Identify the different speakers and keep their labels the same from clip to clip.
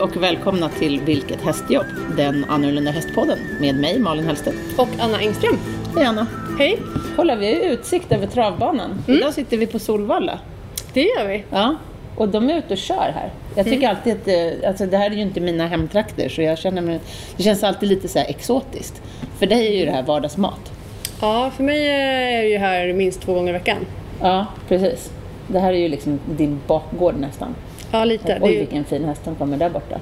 Speaker 1: och välkomna till Vilket hästjobb? Den annorlunda hästpodden med mig Malin Hellstedt.
Speaker 2: Och Anna Engström.
Speaker 1: Hej Anna!
Speaker 2: Hej.
Speaker 1: Kolla, vi har ju utsikt över travbanan. Idag sitter vi på Solvalla.
Speaker 2: Det gör vi.
Speaker 1: Ja, och de är ute och kör här. Jag tycker alltid att, eh, alltså det här är ju inte mina hemtrakter så jag känner mig, det känns alltid lite så här exotiskt. För dig är ju det här vardagsmat.
Speaker 2: Ja, för mig eh, är det ju här minst två gånger i veckan.
Speaker 1: Ja, precis. Det här är ju liksom din bakgård nästan.
Speaker 2: Ja, lite. Det är
Speaker 1: Oj,
Speaker 2: ju...
Speaker 1: vilken fin häst som kommer där borta.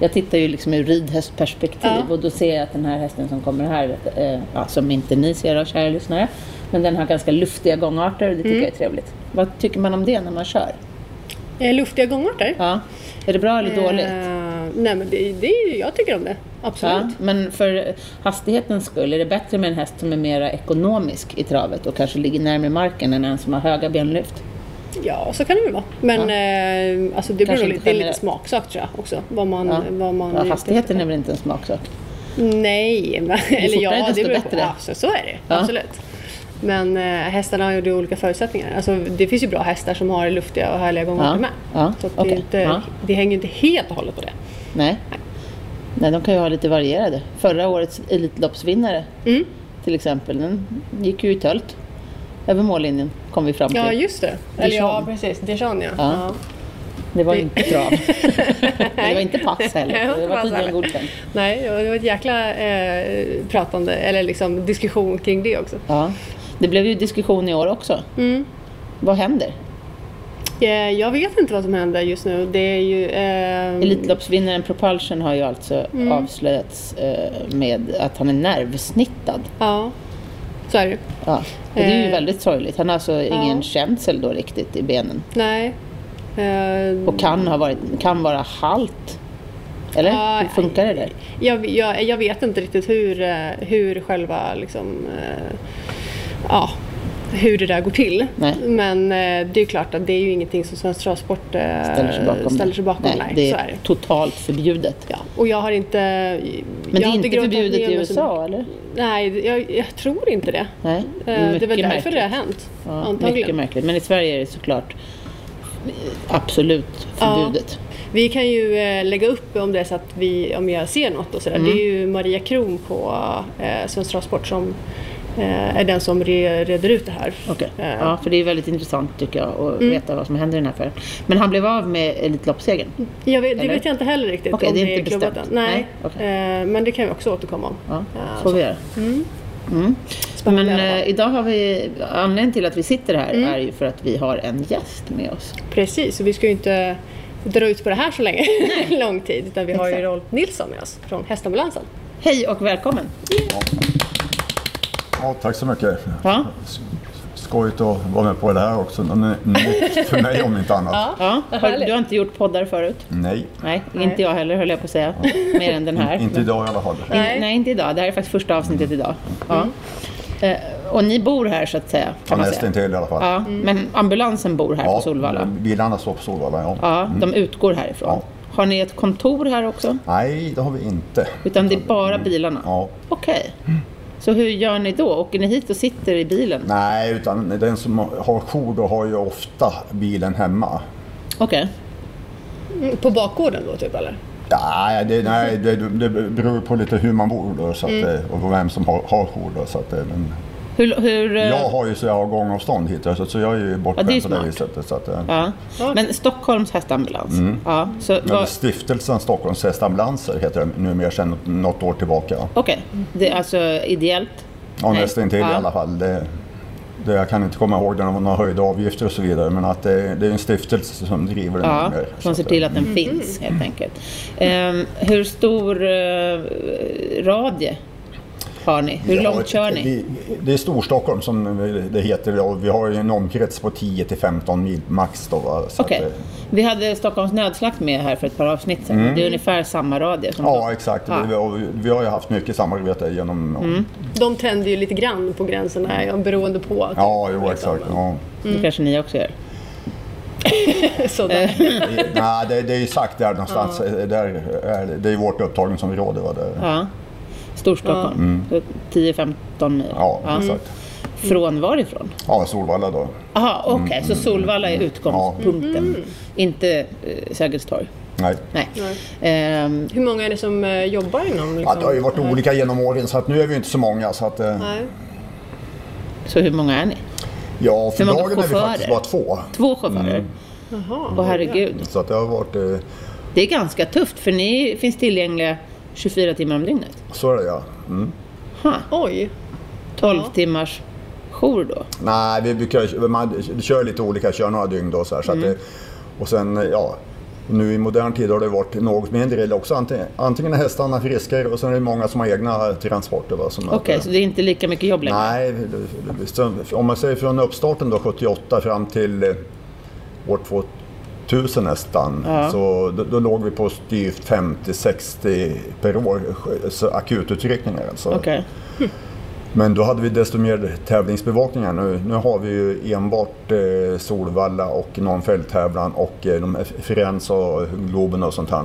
Speaker 1: Jag tittar ju liksom ur ridhästperspektiv
Speaker 2: Ja.
Speaker 1: och då ser jag att den här hästen som kommer här, eh, ja, som inte ni ser av kära lyssnare, men den har ganska luftiga gångarter och det tycker
Speaker 2: Mm.
Speaker 1: jag är trevligt. Vad tycker man om det när man kör?
Speaker 2: Eh, Luftiga gångarter.
Speaker 1: Ja. Är det bra eller dåligt?
Speaker 2: Eh, nej, men det, det är ju, jag tycker om det. Absolut.
Speaker 1: Ja, men för hastighetens skull, är det bättre med en häst som är mer ekonomisk i travet och kanske ligger närmare marken än en som har höga benlyft?
Speaker 2: Ja, så kan det väl vara. Men eh, alltså, det, beror
Speaker 1: Kanske inte
Speaker 2: nog lite, det är lite
Speaker 1: generellt.
Speaker 2: smaksak tror jag också. Vad man,
Speaker 1: Ja.
Speaker 2: Mm, vad man
Speaker 1: Ja, hastigheten är väl inte en smaksak?
Speaker 2: Nej, men, eller
Speaker 1: fortare,
Speaker 2: ja,
Speaker 1: desto
Speaker 2: det beror på.
Speaker 1: bättre.
Speaker 2: Ja, så, så är det
Speaker 1: Ja.
Speaker 2: absolut. Men eh, hästarna har ju olika förutsättningar. Alltså, det finns ju bra hästar som har luftiga och härliga gångarter
Speaker 1: Ja.
Speaker 2: med.
Speaker 1: Ja,
Speaker 2: Så att det,
Speaker 1: okej.
Speaker 2: är inte,
Speaker 1: Ja.
Speaker 2: det hänger ju inte helt och hållet på det.
Speaker 1: Nej. Nej, de kan ju ha lite varierade. Förra årets Elitloppsvinnare
Speaker 2: Mm.
Speaker 1: till exempel, den gick ju i tölt. Över mållinjen kom vi fram till.
Speaker 2: Ja, just det. Eller ja,
Speaker 1: Dijon.
Speaker 2: precis. Dijon, ja.
Speaker 1: Ja.
Speaker 2: ja.
Speaker 1: det var inte trav. Men det var inte pass
Speaker 2: Nej, det
Speaker 1: heller.
Speaker 2: var
Speaker 1: Det
Speaker 2: inte
Speaker 1: var
Speaker 2: pass
Speaker 1: tydligen
Speaker 2: heller.
Speaker 1: godkänt.
Speaker 2: Nej, det var ett jäkla eh, pratande, eller liksom diskussion kring det också.
Speaker 1: Ja. Det blev ju diskussion i år också.
Speaker 2: Mm.
Speaker 1: Vad händer?
Speaker 2: Eh, Jag vet inte vad som händer just nu. Det är ju... ehm,
Speaker 1: Elitloppsvinnaren Propulsion har ju alltså
Speaker 2: Mm.
Speaker 1: avslöjats eh, med att han är nervsnittad.
Speaker 2: Ja, så är det ju.
Speaker 1: Ja. Och det är ju
Speaker 2: Eh.
Speaker 1: väldigt sorgligt. Han har alltså ingen känsel då riktigt i benen.
Speaker 2: Nej. Eh,
Speaker 1: Och kan, ha varit, kan vara halt. Eller?
Speaker 2: Ja,
Speaker 1: Hur funkar det där?
Speaker 2: Jag, jag, jag vet inte riktigt hur, eh, hur själva liksom, eh, ja, hur det där går till.
Speaker 1: Nej.
Speaker 2: Men eh, det är klart att det är ju ingenting som Svensk Travsport eh,
Speaker 1: ställer sig bakom
Speaker 2: ställer
Speaker 1: det.
Speaker 2: sig bakom.
Speaker 1: Nej,
Speaker 2: Nej,
Speaker 1: det
Speaker 2: så
Speaker 1: är,
Speaker 2: är det.
Speaker 1: totalt förbjudet.
Speaker 2: Ja, och jag har inte...
Speaker 1: Men det är inte förbjudet i USA, eller?
Speaker 2: Nej, jag, jag tror inte det.
Speaker 1: Nej,
Speaker 2: Eh, det är väl
Speaker 1: mycket
Speaker 2: därför
Speaker 1: märkligt.
Speaker 2: det har hänt.
Speaker 1: Ja, mycket
Speaker 2: antagligen.
Speaker 1: märkligt. Men i Sverige är det såklart absolut
Speaker 2: Ja.
Speaker 1: förbjudet.
Speaker 2: Vi kan ju eh, lägga upp om det är så att vi, om jag ser något och sådär. Det
Speaker 1: Mm.
Speaker 2: är ju Maria Kron på eh, Svensk Travsport som eh, är den som re, reder ut det här.
Speaker 1: Okej.
Speaker 2: Eh,
Speaker 1: Ja, för det är väldigt intressant tycker jag att
Speaker 2: Mm.
Speaker 1: veta vad som händer i den här affären. Men han blev av med Elitloppssegern.
Speaker 2: Jag vet, det
Speaker 1: Eller?
Speaker 2: vet jag inte heller riktigt.
Speaker 1: Okej,
Speaker 2: om
Speaker 1: det är inte
Speaker 2: klubbat
Speaker 1: bestämt.
Speaker 2: än. Nej,
Speaker 1: Nej, okej.
Speaker 2: eh, men det kan vi också återkomma om.
Speaker 1: Ja,
Speaker 2: Ja,
Speaker 1: får vi göra. Mm. Men
Speaker 2: Spännande i alla
Speaker 1: eh,
Speaker 2: fall. Mm.
Speaker 1: idag har vi, anledningen till att vi sitter här är ju för att vi har en gäst med oss.
Speaker 2: Precis, och vi ska ju inte dra ut på det här så länge, lång tid. Utan vi har ju
Speaker 1: Exakt.
Speaker 2: Rolf Nilsson med oss från Hästambulansen.
Speaker 1: Hej och välkommen!
Speaker 3: Ja, tack så mycket.
Speaker 1: Ja.
Speaker 3: S- Skojigt att vara med på det här också. N- n- Nytt för mig om inte annat.
Speaker 1: Ja, har,
Speaker 2: härligt.
Speaker 1: du har inte gjort poddar förut?
Speaker 3: Nej,
Speaker 1: Nej, inte jag heller höll jag på att säga. Mer än den här.
Speaker 3: inte idag i alla fall.
Speaker 1: In,
Speaker 2: Nej.
Speaker 1: nej. inte idag. Det här är faktiskt första avsnittet idag. Ja. Eh, och ni bor här så att säga.
Speaker 3: Ja,
Speaker 1: Kan man
Speaker 3: nästan
Speaker 1: säga.
Speaker 3: inte i alla fall.
Speaker 1: Ja, Men ambulansen bor här på Solvalla.
Speaker 3: Bilarna står på Solvalla, ja.
Speaker 1: Ja, de utgår härifrån.
Speaker 3: Mm. Ja.
Speaker 1: Har ni ett kontor här också?
Speaker 3: Nej, det har vi inte.
Speaker 1: Utan det är bara bilarna?
Speaker 3: Mm. Ja.
Speaker 1: Okej. Så hur gör ni då? Åker ni hit och sitter i bilen?
Speaker 3: Nej, utan den som har jour då har ju ofta bilen hemma.
Speaker 1: Okej.
Speaker 2: Mm, På bakgården då typ eller?
Speaker 3: Nej, det, nej, det, det beror på lite hur man bor då, så att,
Speaker 1: Mm.
Speaker 3: eh, och vem som har, har jour. Då, så att, eh, men
Speaker 1: Hur, hur, eh,
Speaker 3: jag har ju så jag har gångavstånd hit, så, så jag är ju bortskämd
Speaker 1: ju
Speaker 3: på det
Speaker 1: smart.
Speaker 3: viset. Så att, eh,
Speaker 1: Ja. Men Stockholms hästambulans?
Speaker 3: Mm.
Speaker 1: Ja. Så
Speaker 3: Men
Speaker 1: vad-
Speaker 3: Stiftelsen Stockholms hästambulanser heter den numera sedan något år tillbaka.
Speaker 1: Okej, det är alltså ideellt?
Speaker 3: Ja,
Speaker 1: Nej.
Speaker 3: nästan till i
Speaker 1: Ja.
Speaker 3: alla fall. Det, det, jag kan inte komma ihåg den, några höjda avgifter och så vidare, men att det, det är en stiftelse som driver den.
Speaker 1: Ja,
Speaker 3: numera. Så
Speaker 1: som ser till att den finns helt enkelt. Ehm, hur stor eh, radie har ni? Hur
Speaker 3: Ja,
Speaker 1: långt kör ni?
Speaker 3: Det, det är Storstockholm som det heter och vi har ju en omkrets på 10 till 15 mil max. Då, va? Så att,
Speaker 1: Okej.
Speaker 3: eh,
Speaker 1: Vi hade Stockholms nödslakt med här för ett par avsnitt sedan. Det är ungefär samma radie. Som
Speaker 3: Mm. Ja, exakt.
Speaker 1: Ja. Mm.
Speaker 3: Vi, och vi- vi har ju haft mycket samarbete genom...
Speaker 2: De tänder ju lite grann på gränserna ja, beroende på. typ,
Speaker 3: Ja, jo,
Speaker 2: liksom.
Speaker 3: exakt. Ja.
Speaker 1: Det kanske ni också gör.
Speaker 2: Sådär.
Speaker 3: Det- Nej, det, det är ju sagt där någonstans. Där är, det- det är vårt upptagningsområde. Va? Det,
Speaker 1: Ja. Storstockholm. Så 10-15 mil.
Speaker 3: Ja, exakt.
Speaker 1: Från varifrån?
Speaker 3: Ja, Solvalla då. Mm.
Speaker 1: Jaha, okej. Så Solvalla är utgångspunkten. Inte eh, Sergels torg.
Speaker 3: Nej.
Speaker 1: Nej.
Speaker 2: Nej.
Speaker 1: Ehm,
Speaker 2: Hur många är det som eh, jobbar inom?
Speaker 3: Ja,
Speaker 2: Liksom,
Speaker 3: det har ju varit
Speaker 2: här?
Speaker 3: olika genom åren så att nu är vi inte så många. Så att, eh,
Speaker 2: Nej.
Speaker 1: så hur många är ni?
Speaker 3: ja, för
Speaker 1: Hur många
Speaker 3: dagen är vi
Speaker 1: chaufförer?
Speaker 3: faktiskt bara två.
Speaker 1: Två chaufförer?
Speaker 2: Jaha.
Speaker 1: Åh herregud.
Speaker 3: Så att det har varit, eh,
Speaker 1: Det är ganska tufft för ni finns tillgängliga 24 timmar om dygnet.
Speaker 3: så är det ja. Mm.
Speaker 1: Ha,
Speaker 2: Oj.
Speaker 1: 12
Speaker 2: Ja.
Speaker 1: timmars jour då.
Speaker 3: Nej, vi brukar, man kör lite olika, kör några dygn då så här. Så att det, och sen, ja, nu i modern tid har det varit något mindre eller också antingen, antingen är hästarna friskare och sen är det många som har egna transporter. Va, som
Speaker 1: Okej,
Speaker 3: att, eh,
Speaker 1: så det är inte lika mycket jobb längre?
Speaker 3: Nej, det- det- det- så om man säger från uppstarten då 78 fram till eh, år 2000 nästan.
Speaker 1: Ja.
Speaker 3: Så då, då låg vi på styvt 50-60 per år så akututryckningar. Alltså.
Speaker 1: Okej.
Speaker 3: Men då hade vi desto mer tävlingsbevakningar nu. Nu har vi ju enbart eh, Solvalla och någon fälttävlan och eh, de här Friends och Globen och sånt här.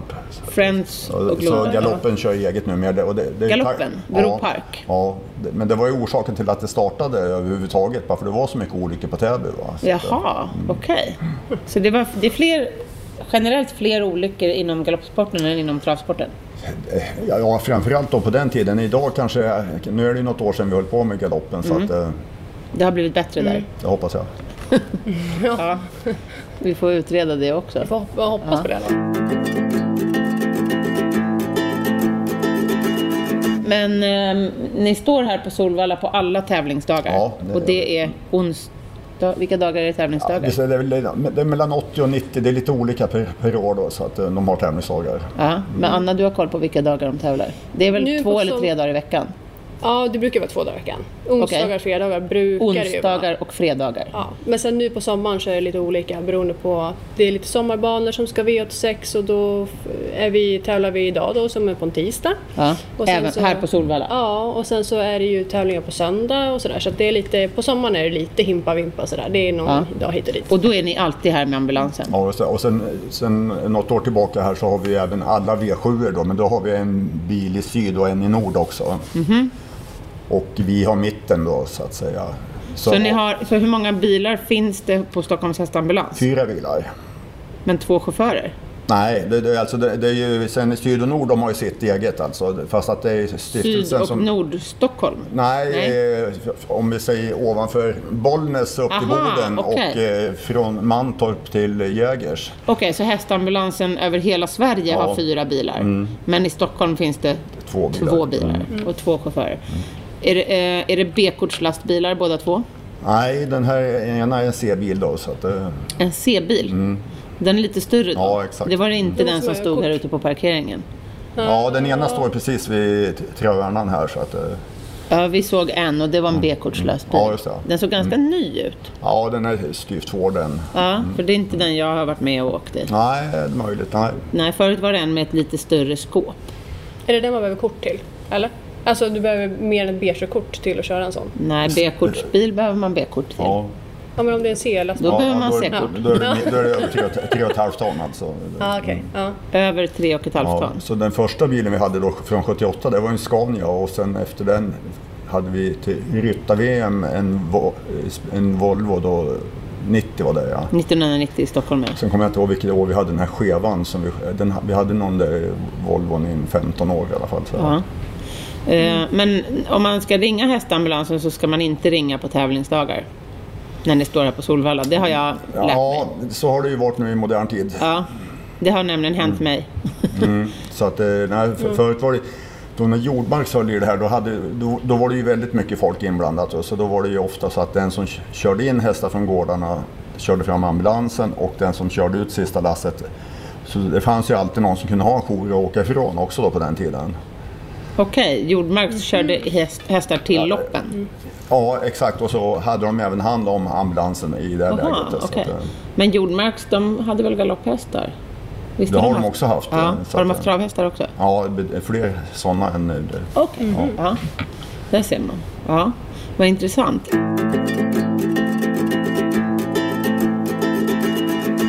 Speaker 1: Friends
Speaker 3: Så,
Speaker 1: och
Speaker 3: så
Speaker 1: Globen.
Speaker 3: galoppen kör eget numera. Och det, det, är
Speaker 1: Galoppen?
Speaker 3: tack-
Speaker 1: Bro Park?
Speaker 3: Ja, det, men det var ju orsaken till att det startade överhuvudtaget. Bara för det var så mycket olyckor på Täby. Va? Så att, eh,
Speaker 1: Jaha, okej. Så det, var, det är fler, generellt fler olyckor inom galoppsporten än inom travsporten?
Speaker 3: Ja, ja, framförallt då på den tiden. Idag kanske, nu är det ju något år sedan vi höll på med galoppen
Speaker 1: Mm.
Speaker 3: så att, eh,
Speaker 1: Det har blivit bättre
Speaker 2: Mm.
Speaker 1: där.
Speaker 3: det hoppas jag.
Speaker 1: Ja. Vi får utreda det också.
Speaker 2: Får hop- hoppas på det. Då.
Speaker 1: Men ehm, ni står här på Solvalla på alla tävlingsdagar.
Speaker 3: Ja, det
Speaker 1: och
Speaker 3: gör
Speaker 1: det är onsdag... Vilka dagar är det tävlingsdagar?
Speaker 3: Visst är det, väl- det är mellan 80 och 90, det är lite olika per, per år då så att eh, de har tävlingsdagar.
Speaker 1: Ja, men Anna, du har koll på vilka dagar de tävlar? Det är väl
Speaker 2: Nu
Speaker 1: två
Speaker 2: på
Speaker 1: eller
Speaker 2: sol-
Speaker 1: tre dagar i veckan?
Speaker 2: Ja, det brukar vara två dagar i veckan. Onsdagar
Speaker 1: Okej.
Speaker 2: fredagar brukar det ju vara.
Speaker 1: Onsdagar och fredagar.
Speaker 2: Ja, men sen nu på sommaren så är det lite olika beroende på. Det är lite sommarbanor som ska V86 och då är vi, tävlar vi idag då som är på en tisdag.
Speaker 1: Ja.
Speaker 2: Och sen
Speaker 1: Även
Speaker 2: så-
Speaker 1: här på Solvalla.
Speaker 2: Ja, och sen så är det ju tävlingar på söndag och sådär. Så att det är lite, på sommaren är det lite himpa-vimpa sådär. Det är någon
Speaker 1: Ja.
Speaker 2: dag hit och dit.
Speaker 1: Och då är ni alltid här med ambulansen?
Speaker 3: Ja, och sen, och sen, sen något år tillbaka här så har vi även alla V7 då, men då har vi en bil i syd och en i nord också.
Speaker 1: Mhm.
Speaker 3: Och vi har mitten då så att säga.
Speaker 1: Så, ni har, så hur många bilar finns det på Stockholms hästambulans?
Speaker 3: Fyra bilar.
Speaker 1: Men två chaufförer?
Speaker 3: Nej, det, det, är alltså, det, det är ju, sen syd och nord de har ju sitt eget alltså. Fast att det är stiftelsen
Speaker 1: Syd och
Speaker 3: som...
Speaker 1: Nordstockholm?
Speaker 3: Nej,
Speaker 1: Nej.
Speaker 3: Eh, om vi säger ovanför Bollnäs upp till
Speaker 1: Aha,
Speaker 3: Boden och
Speaker 1: okej.
Speaker 3: eh, från Mantorp till Jägers.
Speaker 1: Okej, så hästambulansen över hela Sverige har fyra bilar.
Speaker 3: Mm.
Speaker 1: Men i Stockholm finns det
Speaker 3: Två bilar. Mm.
Speaker 1: två bilar
Speaker 2: Mm.
Speaker 1: och två chaufförer. Är det, eh, är det B-kortslastbilar båda två?
Speaker 3: Nej, den här ena är en C-bil då så att... Eh,
Speaker 1: En C-bil? Den är lite större då?
Speaker 3: Mm. Ja, exakt.
Speaker 1: Det var inte
Speaker 2: Mm.
Speaker 1: den som stod här ute på parkeringen?
Speaker 3: Ja, den ena står precis vid t- Trövärnan här. Så att, eh,
Speaker 1: Ja, vi såg en och det var en B-kortslastbil.
Speaker 3: Mm. Ja, just det. Mm.
Speaker 1: Den såg ganska ny ut.
Speaker 3: ja, den är styvt hård den.
Speaker 1: Ja, för det är inte den jag har varit med och åkt i.
Speaker 3: Nej, det är möjligt. Nej.
Speaker 1: Nej, förut var det en med ett lite större skåp.
Speaker 2: Är det det man behöver kort till? Eller? Alltså du behöver mer än ett B-körkort till att köra en sån.
Speaker 3: Mm.
Speaker 1: Nej, B-kortsbil behöver man B-kort till.
Speaker 2: Ja, men om det är en C-lastbil.
Speaker 1: Då
Speaker 3: Ja,
Speaker 1: behöver man
Speaker 3: då är-
Speaker 1: C-kort.
Speaker 3: Då är det, då är det över tre och ett- tre och ett halvt ton alltså.
Speaker 2: Ja, okej.
Speaker 1: Mm.
Speaker 2: Ja.
Speaker 1: Över tre och ett halvt
Speaker 3: Ja,
Speaker 1: ton.
Speaker 3: så den första bilen vi hade då från 78, det var en Scania och sen efter den hade vi till Rytta-VM en, Vo- eh, en Volvo då, 90 var det ja.
Speaker 1: 1990 i Stockholm. ja.
Speaker 3: Sen kommer jag inte ihåg vilket år vi hade den här skevan. Som vi, den, vi hade någon där Volvon i 15 år i alla fall. Så.
Speaker 1: Ja. Eh,
Speaker 3: Mm.
Speaker 1: Men om man ska ringa hästambulansen så ska man inte ringa på tävlingsdagar. När ni står här på Solvalla. Det har jag lärt mig.
Speaker 3: Ja, så har det ju varit nu i modern tid.
Speaker 1: Ja, det har nämligen
Speaker 3: Mm.
Speaker 1: hänt mig.
Speaker 3: Så att, eh, nej,
Speaker 1: Mm.
Speaker 3: för, förut var det, då när Jordmark höll i det här, då, hade, då, då var det ju väldigt mycket folk inblandat. och Så då var det ju ofta så att den som k- körde in hästar från gårdarna körde fram ambulansen och den som körde ut sista lasset. Så det fanns ju alltid någon som kunde ha en jour och åka ifrån också då på den tiden.
Speaker 1: Okej, Jordmark körde
Speaker 3: Mm.
Speaker 1: häst, hästar till loppen.
Speaker 3: Ja, exakt. Och så hade de även hand om ambulansen i det här
Speaker 1: Aha,
Speaker 3: läget. Så att,
Speaker 1: okej.
Speaker 3: eh,
Speaker 1: Men Jordmarks, de hade väl galopphästar? Visst
Speaker 3: Det har
Speaker 1: haft-
Speaker 3: de också haft.
Speaker 1: Ja.
Speaker 3: eh, så
Speaker 1: Har de
Speaker 3: att,
Speaker 1: haft travhästar också?
Speaker 3: Ja, be- fler sådana än eh, det-
Speaker 1: Okej, ja. Där ser man. Ja, vad intressant.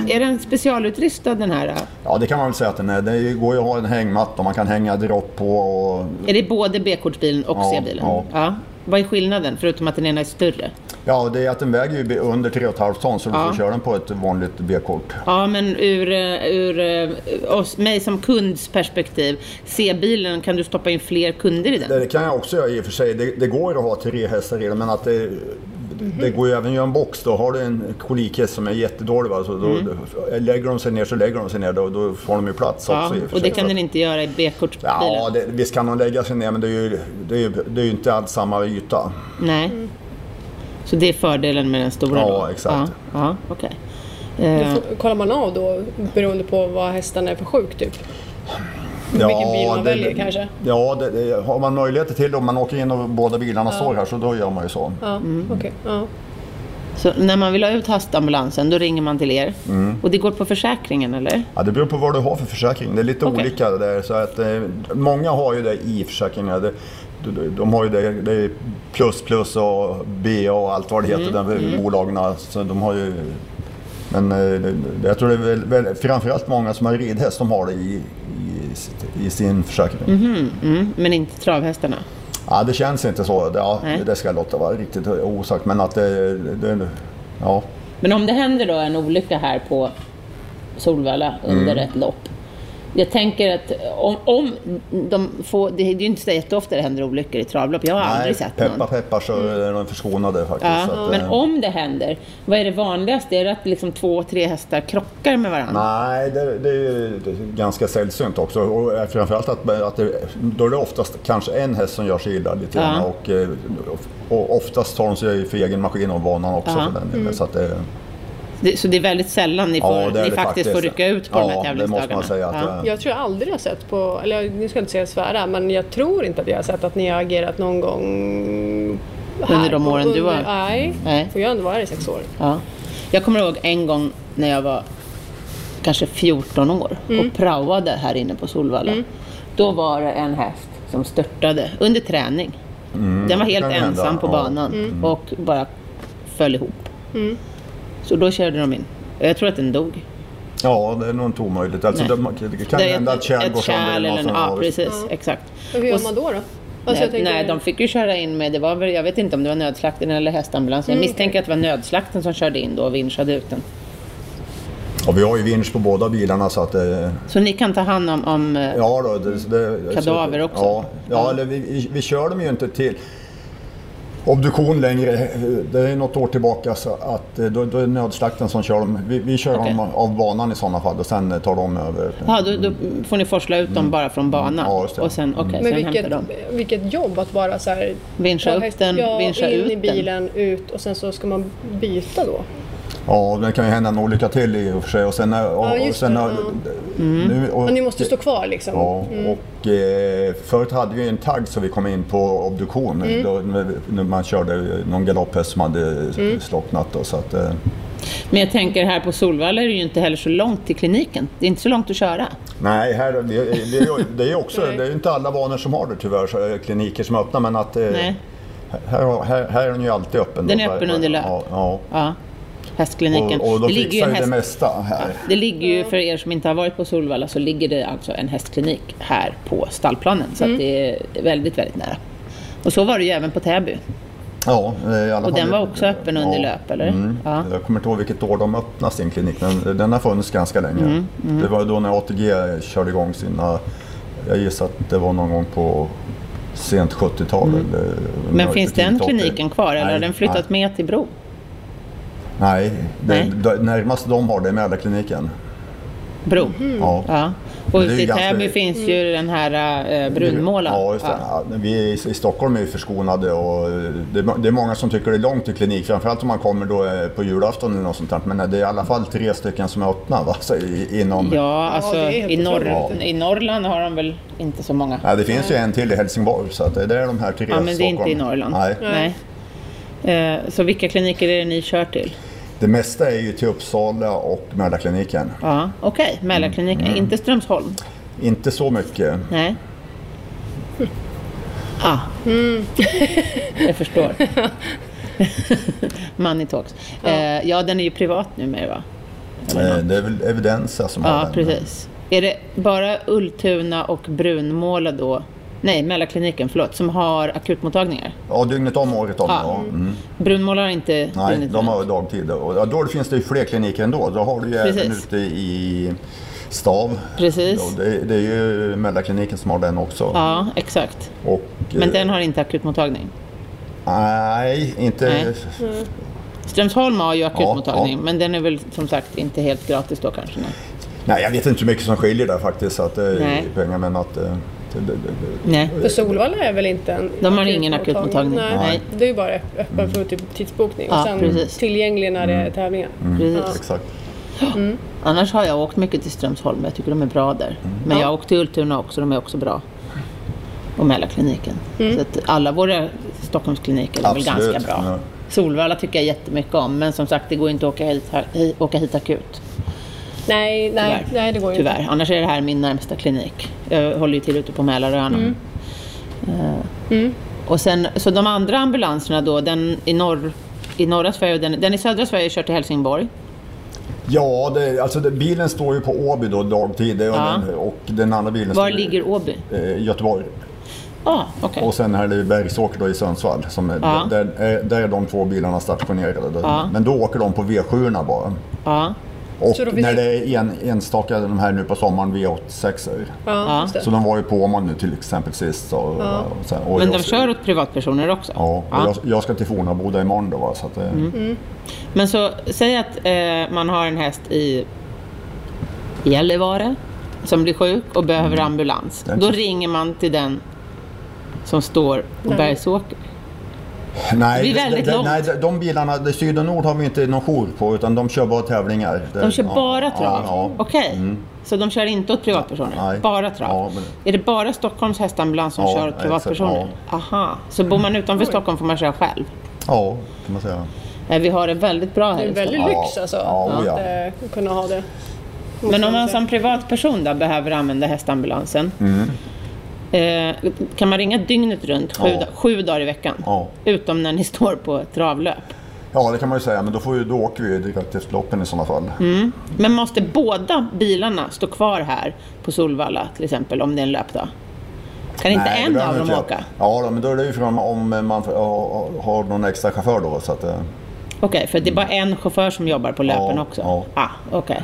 Speaker 1: Är den specialutrustad den här?
Speaker 3: Ja, det kan man väl säga att den är. Det går ju att ha en hängmatta och man kan hänga dropp på. Och,
Speaker 1: Är det både B-kortsbilen och
Speaker 3: Ja,
Speaker 1: C-bilen?
Speaker 3: ja.
Speaker 1: Vad är skillnaden förutom att den ena är större?
Speaker 3: Ja, det är att den väger ju under 3,5 ton så du
Speaker 1: Ja.
Speaker 3: får köra den på ett vanligt B-kort.
Speaker 1: Ja, men ur, eh, ur eh, oss, mig som kunds perspektiv, C-bilen, kan du stoppa in fler kunder i den?
Speaker 3: Det kan jag också göra i och för sig. Det, det går ju att ha tre hästar i den, men att det, det går ju även att göra en box. Då har du en kolikhäst som är jättedålig, va? Så då, lägger de sig ner så lägger de sig ner. Då, då får de ju plats
Speaker 1: Mm. Ja,
Speaker 3: också i och för
Speaker 1: och det
Speaker 3: sig.
Speaker 1: kan den inte göra i B-kortsbilen?
Speaker 3: Ja, det, visst kan de lägga sig ner, men det är ju, det är, ju- det är ju inte alls samma yta.
Speaker 1: Nej. Så det är fördelen med den stora
Speaker 3: Ja,
Speaker 1: då?
Speaker 3: exakt.
Speaker 1: Ja, ja okej.
Speaker 2: Då
Speaker 1: Eh,
Speaker 2: får- kollar man av då beroende på vad hästarna är för sjuk typ? Vilken bil man väljer kanske?
Speaker 3: Ja, det, det, har man möjligheter till det, om man åker in och båda bilarna står här, så då gör man ju så.
Speaker 2: Ja,
Speaker 1: Mm.
Speaker 2: okej. Ja.
Speaker 1: Så när man vill ha ut hastambulansen, då ringer man till er?
Speaker 3: Mm.
Speaker 1: Och det går på försäkringen, eller?
Speaker 3: Ja, det beror på vad du har för försäkring. Det är lite
Speaker 1: Okej.
Speaker 3: olika. Där, så att, eh, många har ju det i försäkringarna. Det, de, de har ju det, det är plus plus och BA och allt vad det
Speaker 2: Mm.
Speaker 3: heter, de bolagen. Så de har ju, men eh, det- det- jag tror det är väl, väl, framförallt många som har ridhäst som har det i, i, sitt- i sin försäkring.
Speaker 1: Mm, men inte travhästarna?
Speaker 3: Ja, det känns inte så. Det, ja,
Speaker 1: Nej.
Speaker 3: det ska jag låta vara riktigt osagt. Men att det, det ja.
Speaker 1: Men om det händer då en olycka här på Solvalla
Speaker 3: Mm.
Speaker 1: under ett lopp. Jag tänker att om, om de får, det är ju inte så jätteofta det händer olyckor i travlopp. Jag har aldrig sett
Speaker 3: peppa,
Speaker 1: någon. Mm.
Speaker 3: peppar så är de förskonade faktiskt.
Speaker 1: Ja,
Speaker 3: så att,
Speaker 1: men
Speaker 3: eh,
Speaker 1: om det händer, vad är det vanligaste? Är det att liksom två, tre hästar krockar med varandra?
Speaker 3: Nej, det, det är ju det är ganska sällsynt också. Och eh, framförallt att, att det, då är det oftast kanske en häst som gör sig illa lite
Speaker 1: Ja.
Speaker 3: grann. Och, eh, och oftast tar de sig för egen maskin och banan också.
Speaker 1: Ja. Mm.
Speaker 3: För den, delen. Så att eh, det,
Speaker 1: Det, så det är väldigt sällan ni, får,
Speaker 3: ja, det är
Speaker 1: ni
Speaker 3: det
Speaker 1: faktiskt får rycka ut på
Speaker 3: ja,
Speaker 1: de här
Speaker 3: det
Speaker 1: tävlingsdagarna?
Speaker 3: måste man säga. Att, eh,
Speaker 2: Jag tror jag aldrig har sett på, eller jag- nu ska jag inte säga svära, men jag tror inte att jag har sett att ni har agerat någon gång här.
Speaker 1: Under de åren du var-
Speaker 2: Under- Nej,
Speaker 1: Nej.
Speaker 2: för jag har ändå varit här i sex år.
Speaker 1: Ja. Jag kommer ihåg en gång när jag var kanske 14 år och praoade här inne på Solvalla. Då var det en häst som störtade under träning. Den var
Speaker 3: det
Speaker 1: helt
Speaker 3: Mm. kan hända,
Speaker 1: ensam på
Speaker 3: ja. Mm.
Speaker 1: banan och bara föll ihop. Så då körde de in. Och Jag tror att den dog.
Speaker 3: ja, det är nog inte omöjligt. Alltså,
Speaker 1: Nej.
Speaker 3: det, man- det kan
Speaker 1: är
Speaker 3: hända
Speaker 1: ett-
Speaker 3: att kärl
Speaker 1: ett
Speaker 3: går sönder.
Speaker 1: kärl
Speaker 3: eller
Speaker 1: eller
Speaker 3: något
Speaker 1: en,
Speaker 3: sånt,
Speaker 1: Ja,
Speaker 3: ja, visst.
Speaker 1: precis. Exakt.
Speaker 2: Och hur gör
Speaker 1: Och
Speaker 2: man då? då? Alltså,
Speaker 1: Nej,
Speaker 2: jag tänker-
Speaker 1: nej, de fick ju köra in med, det var väl, jag vet inte om det var nödslakten eller hästambulansen. Jag misstänker att det var nödslakten som körde in då och vinschade ut den.
Speaker 3: Och vi har ju vinsch på båda bilarna. Så att, eh,
Speaker 1: Så ni kan ta hand om, om eh,
Speaker 3: Ja, då, det, det,
Speaker 1: Kadaver
Speaker 3: så-
Speaker 1: också?
Speaker 3: Ja,
Speaker 1: Ja.
Speaker 3: ja eller vi, vi, vi kör dem ju inte till obduktion längre. Det är något år tillbaka så att eh, då, då är det nödslakten som kör dem. Vi, vi kör
Speaker 1: Okej.
Speaker 3: dem av banan i sådana fall och sen eh, tar de över.
Speaker 1: Ja, då, då får ni forsla ut dem bara från banan
Speaker 3: Mm. Ja, just det.
Speaker 1: och sen, okay, sen
Speaker 2: Men
Speaker 1: hämtar
Speaker 2: vilket,
Speaker 1: de.
Speaker 2: vilket jobb att bara så här...
Speaker 1: Vinscha
Speaker 2: ta
Speaker 1: upp
Speaker 2: häst-
Speaker 1: den,
Speaker 2: ja,
Speaker 1: vinscha
Speaker 2: in
Speaker 1: ut
Speaker 2: i
Speaker 1: den.
Speaker 2: bilen, ut och sen så ska man byta då.
Speaker 3: Ja, det kan ju hända en olycka till i och för sig. Och sen, eh, och, och
Speaker 2: just
Speaker 3: sen,
Speaker 2: det,
Speaker 3: eh,
Speaker 1: Mm.
Speaker 3: nu, och,
Speaker 2: Men ni måste stå kvar liksom.
Speaker 3: Ja, och eh, förut hade vi en tagg så vi kom in på obduktion.
Speaker 2: Mm.
Speaker 3: Då, när- när man körde någon galopphäst som hade mm. slocknat. Då, så att, eh,
Speaker 1: Men jag tänker här på Solvalla är det ju inte heller så långt till kliniken. Det är inte så långt att köra.
Speaker 3: Nej, här, det, det, är ju- det är ju också,
Speaker 2: Nej.
Speaker 3: det är ju inte alla banor som har det tyvärr, så, eh, kliniker som är öppna, men att eh,
Speaker 1: Nej.
Speaker 3: här, här, här är den ju alltid öppen.
Speaker 1: Den
Speaker 3: då.
Speaker 1: är öppen under löp.
Speaker 3: Ja, ja.
Speaker 1: Ja, hästkliniken.
Speaker 3: Och, och de
Speaker 1: det ligger ju
Speaker 3: fixar
Speaker 1: en
Speaker 3: ju det
Speaker 1: häst...
Speaker 3: mesta här.
Speaker 1: Det ligger ju, för er som inte har varit på Solvalla, så ligger det alltså en hästklinik här på stallplanen.
Speaker 2: Mm.
Speaker 1: Så att det är väldigt, väldigt nära. Och så var det ju även på Täby.
Speaker 3: Ja, eh, i alla
Speaker 1: Och
Speaker 3: fall-
Speaker 1: den var också öppen under löp, eller?
Speaker 3: Mm.
Speaker 1: Ja.
Speaker 3: Jag kommer inte ihåg vilket år de öppnade sin klinik, men den har funnits ganska länge.
Speaker 1: Mm,
Speaker 3: Det var då när ATG körde igång sina, jag gissar att det var någon gång på sent eh, 70-tal. Eller,
Speaker 1: Mm. Men finns den
Speaker 3: tidigt 80.
Speaker 1: kliniken kvar eller
Speaker 3: Nej,
Speaker 1: har den
Speaker 3: nej.
Speaker 1: flyttat med till Bro?
Speaker 3: Nej, det,
Speaker 1: Nej.
Speaker 3: Det, närmast de har det är Mälarkliniken.
Speaker 1: Bro.
Speaker 2: Mhm.
Speaker 3: Ja.
Speaker 1: Mm. Ja. Och
Speaker 3: Men det är
Speaker 1: ute i
Speaker 3: ganska- Mm.
Speaker 1: Täby finns ju den här eh, brunmålaren.
Speaker 3: Ja, just det. Ja. Vi i, i Stockholm är ju förskonade och eh, det, är- det är många som tycker det är långt till klinik. Framförallt om man kommer då eh, på julafton eller något sånt där. Men det är i alla fall tre stycken som är öppna va? Så, i, inom...
Speaker 1: Ja, alltså
Speaker 2: det är helt
Speaker 1: i, norr,
Speaker 3: otroligt.
Speaker 1: i Norrland har de väl inte så många.
Speaker 3: Nej, det finns ju en till i Helsingborg så att det det är de här tre
Speaker 1: Ja, men det är inte i
Speaker 3: Stockholm.
Speaker 1: Norrland.
Speaker 3: Nej.
Speaker 1: Eh, Så vilka kliniker är det ni kör till?
Speaker 3: Det mesta är ju till Uppsala och Mälarkliniken.
Speaker 1: Ja, Okej,
Speaker 3: Mm.
Speaker 1: Mälarkliniken. Inte Strömsholm?
Speaker 3: Inte så mycket.
Speaker 1: Nej. Ah. Jag förstår. Money talks. Eh, ja, den är ju privat numera va?
Speaker 3: Eh, Det är väl Evidensa som har
Speaker 1: Ja,
Speaker 3: den.
Speaker 1: precis. Är det bara Ultuna och Brunmåla då Nej, Mälarkliniken, förlåt, som har akutmottagningar.
Speaker 3: Ja, dygnet om, året om.
Speaker 1: Ja.
Speaker 3: Ja. Mm.
Speaker 1: Brunmålar inte
Speaker 3: Nej,
Speaker 1: dygnet
Speaker 3: de
Speaker 1: runt.
Speaker 3: har dagtid. Och ja, då finns det ju fler kliniker ändå. Då har du ju även
Speaker 1: Precis.
Speaker 3: ute i Stav.
Speaker 1: Precis.
Speaker 3: Ja, det, det är ju Mälarkliniken som har den också.
Speaker 1: Ja, exakt.
Speaker 3: Och,
Speaker 1: Men
Speaker 3: eh,
Speaker 1: den har inte akutmottagning.
Speaker 3: Nej, inte...
Speaker 1: Nej. Strömsholm har ju akutmottagning,
Speaker 3: Ja, ja.
Speaker 1: men den är väl som sagt inte helt gratis då kanske. Nej.
Speaker 3: Nej, jag vet inte hur mycket som skiljer där faktiskt så att, eh,
Speaker 1: Nej.
Speaker 3: i pengar. Men att, eh, det, det, det,
Speaker 1: Nej.
Speaker 2: För Solvalla är väl inte en
Speaker 1: De har ingen akutmottagning.
Speaker 2: Nej.
Speaker 1: Nej.
Speaker 2: Det är ju bara öppen för typ tidsbokning och
Speaker 1: Ja,
Speaker 2: sen
Speaker 1: precis.
Speaker 2: tillgänglig när det
Speaker 3: Mm.
Speaker 2: är tävlingar.
Speaker 1: Precis.
Speaker 3: Exakt.
Speaker 1: Annars har jag åkt mycket till Strömsholm, jag tycker de är bra där.
Speaker 3: Mm.
Speaker 1: Men jag har åkt till Ultuna också, de är också bra. Och Mälarkliniken.
Speaker 2: Mm.
Speaker 1: Så att alla våra Stockholmskliniker är väl
Speaker 3: Absolut,
Speaker 1: ganska bra.
Speaker 3: ja.
Speaker 1: Solvalla tycker jag jättemycket om, men som sagt det går inte att åka hit, hi- åka hit akut.
Speaker 2: Nej, nej,
Speaker 1: Tyvärr.
Speaker 2: nej, det går ju inte.
Speaker 1: Tyvärr. Annars är det här min närmsta klinik. Jag håller ju till ute på Mälaröarna.
Speaker 2: Mm.
Speaker 1: Eh, Och sen, så de andra ambulanserna då, den i, norr, i norra Sverige och den, den i södra Sverige kör till Helsingborg.
Speaker 3: Ja, det, alltså det, bilen står ju på Åby då dagtid det- och,
Speaker 1: Ja.
Speaker 3: den, och den andra bilen
Speaker 1: Var
Speaker 3: står
Speaker 1: ligger Åby?
Speaker 3: i eh, Göteborg.
Speaker 1: Ja, ah, okej.
Speaker 3: Och sen här är det Bergsåker då i Sundsvall. Som är,
Speaker 1: Ja.
Speaker 3: där, är- där är de två bilarna stationerade. Då.
Speaker 1: Ja.
Speaker 3: Men då åker de på V7 bara.
Speaker 1: Ja.
Speaker 3: Och
Speaker 2: Så då finns
Speaker 3: när
Speaker 2: det-
Speaker 3: det är en, enstaka, de här nu på sommaren, V86 er
Speaker 2: Ja,
Speaker 1: Ja.
Speaker 2: just det.
Speaker 3: Så de var ju på Åman nu till exempel sist. Och, och sen, och
Speaker 1: Men
Speaker 3: jag-
Speaker 1: de kör åt privatpersoner också?
Speaker 3: Ja, och
Speaker 1: Ja. Mm.
Speaker 3: Jag, jag ska till Fornaboda imorgon då. Va? Så att, eh,
Speaker 1: Men så, säg att eh, man har en häst i Gällivare som blir sjuk och behöver ambulans.
Speaker 3: Mm. Den-
Speaker 1: Då ringer man till den som står på Bergsåker.
Speaker 3: Nej,
Speaker 1: Det blir
Speaker 3: de-
Speaker 1: väldigt
Speaker 3: de,
Speaker 1: långt.
Speaker 3: nej, de- de bilarna, det syd och nord har vi inte någon jour på utan de kör bara tävlingar. Det-
Speaker 1: De kör
Speaker 3: ja,
Speaker 1: bara trav?
Speaker 3: Ja, ja.
Speaker 1: Okej. Så de kör inte åt privatpersoner?
Speaker 3: Nej.
Speaker 1: Bara trav?
Speaker 3: Ja, men-
Speaker 1: Är det bara Stockholms hästambulans som
Speaker 3: Ja,
Speaker 1: kör åt
Speaker 3: exakt,
Speaker 1: privatpersoner? Aha. Så bor man utanför Stockholm får man köra själv?
Speaker 3: ja, kan man säga.
Speaker 1: Nej, vi har det väldigt bra
Speaker 2: Det
Speaker 1: här
Speaker 2: är
Speaker 1: i Stockholm.
Speaker 2: väldigt lyx alltså.
Speaker 3: Ja, oh,
Speaker 2: att
Speaker 3: ja.
Speaker 2: eh, kunna ha det.
Speaker 1: Men om man som privatperson då behöver använda hästambulansen,
Speaker 3: Mm.
Speaker 1: eh, kan man ringa dygnet runt, sju,
Speaker 3: Ja.
Speaker 1: da- sju dagar i veckan?
Speaker 3: Ja.
Speaker 1: Utom när ni står på travlöp.
Speaker 3: Ja, det kan man ju säga, men då, får ju, då åker vi ju direkt efter loppen i sådana fall.
Speaker 1: Men måste båda bilarna stå kvar här på Solvalla till exempel, om det är en löpdag? Kan inte
Speaker 3: Nej, det
Speaker 1: en
Speaker 3: behöver
Speaker 1: av dem
Speaker 3: inte jag.
Speaker 1: åka?
Speaker 3: Ja, då, men då är det ju frågan om man får- ja, har någon extra chaufför då. Så att, eh,
Speaker 1: Okej, för det är bara en chaufför som jobbar på löpen
Speaker 3: Mm. Ja,
Speaker 1: också?
Speaker 3: ja.
Speaker 1: Ah, okej.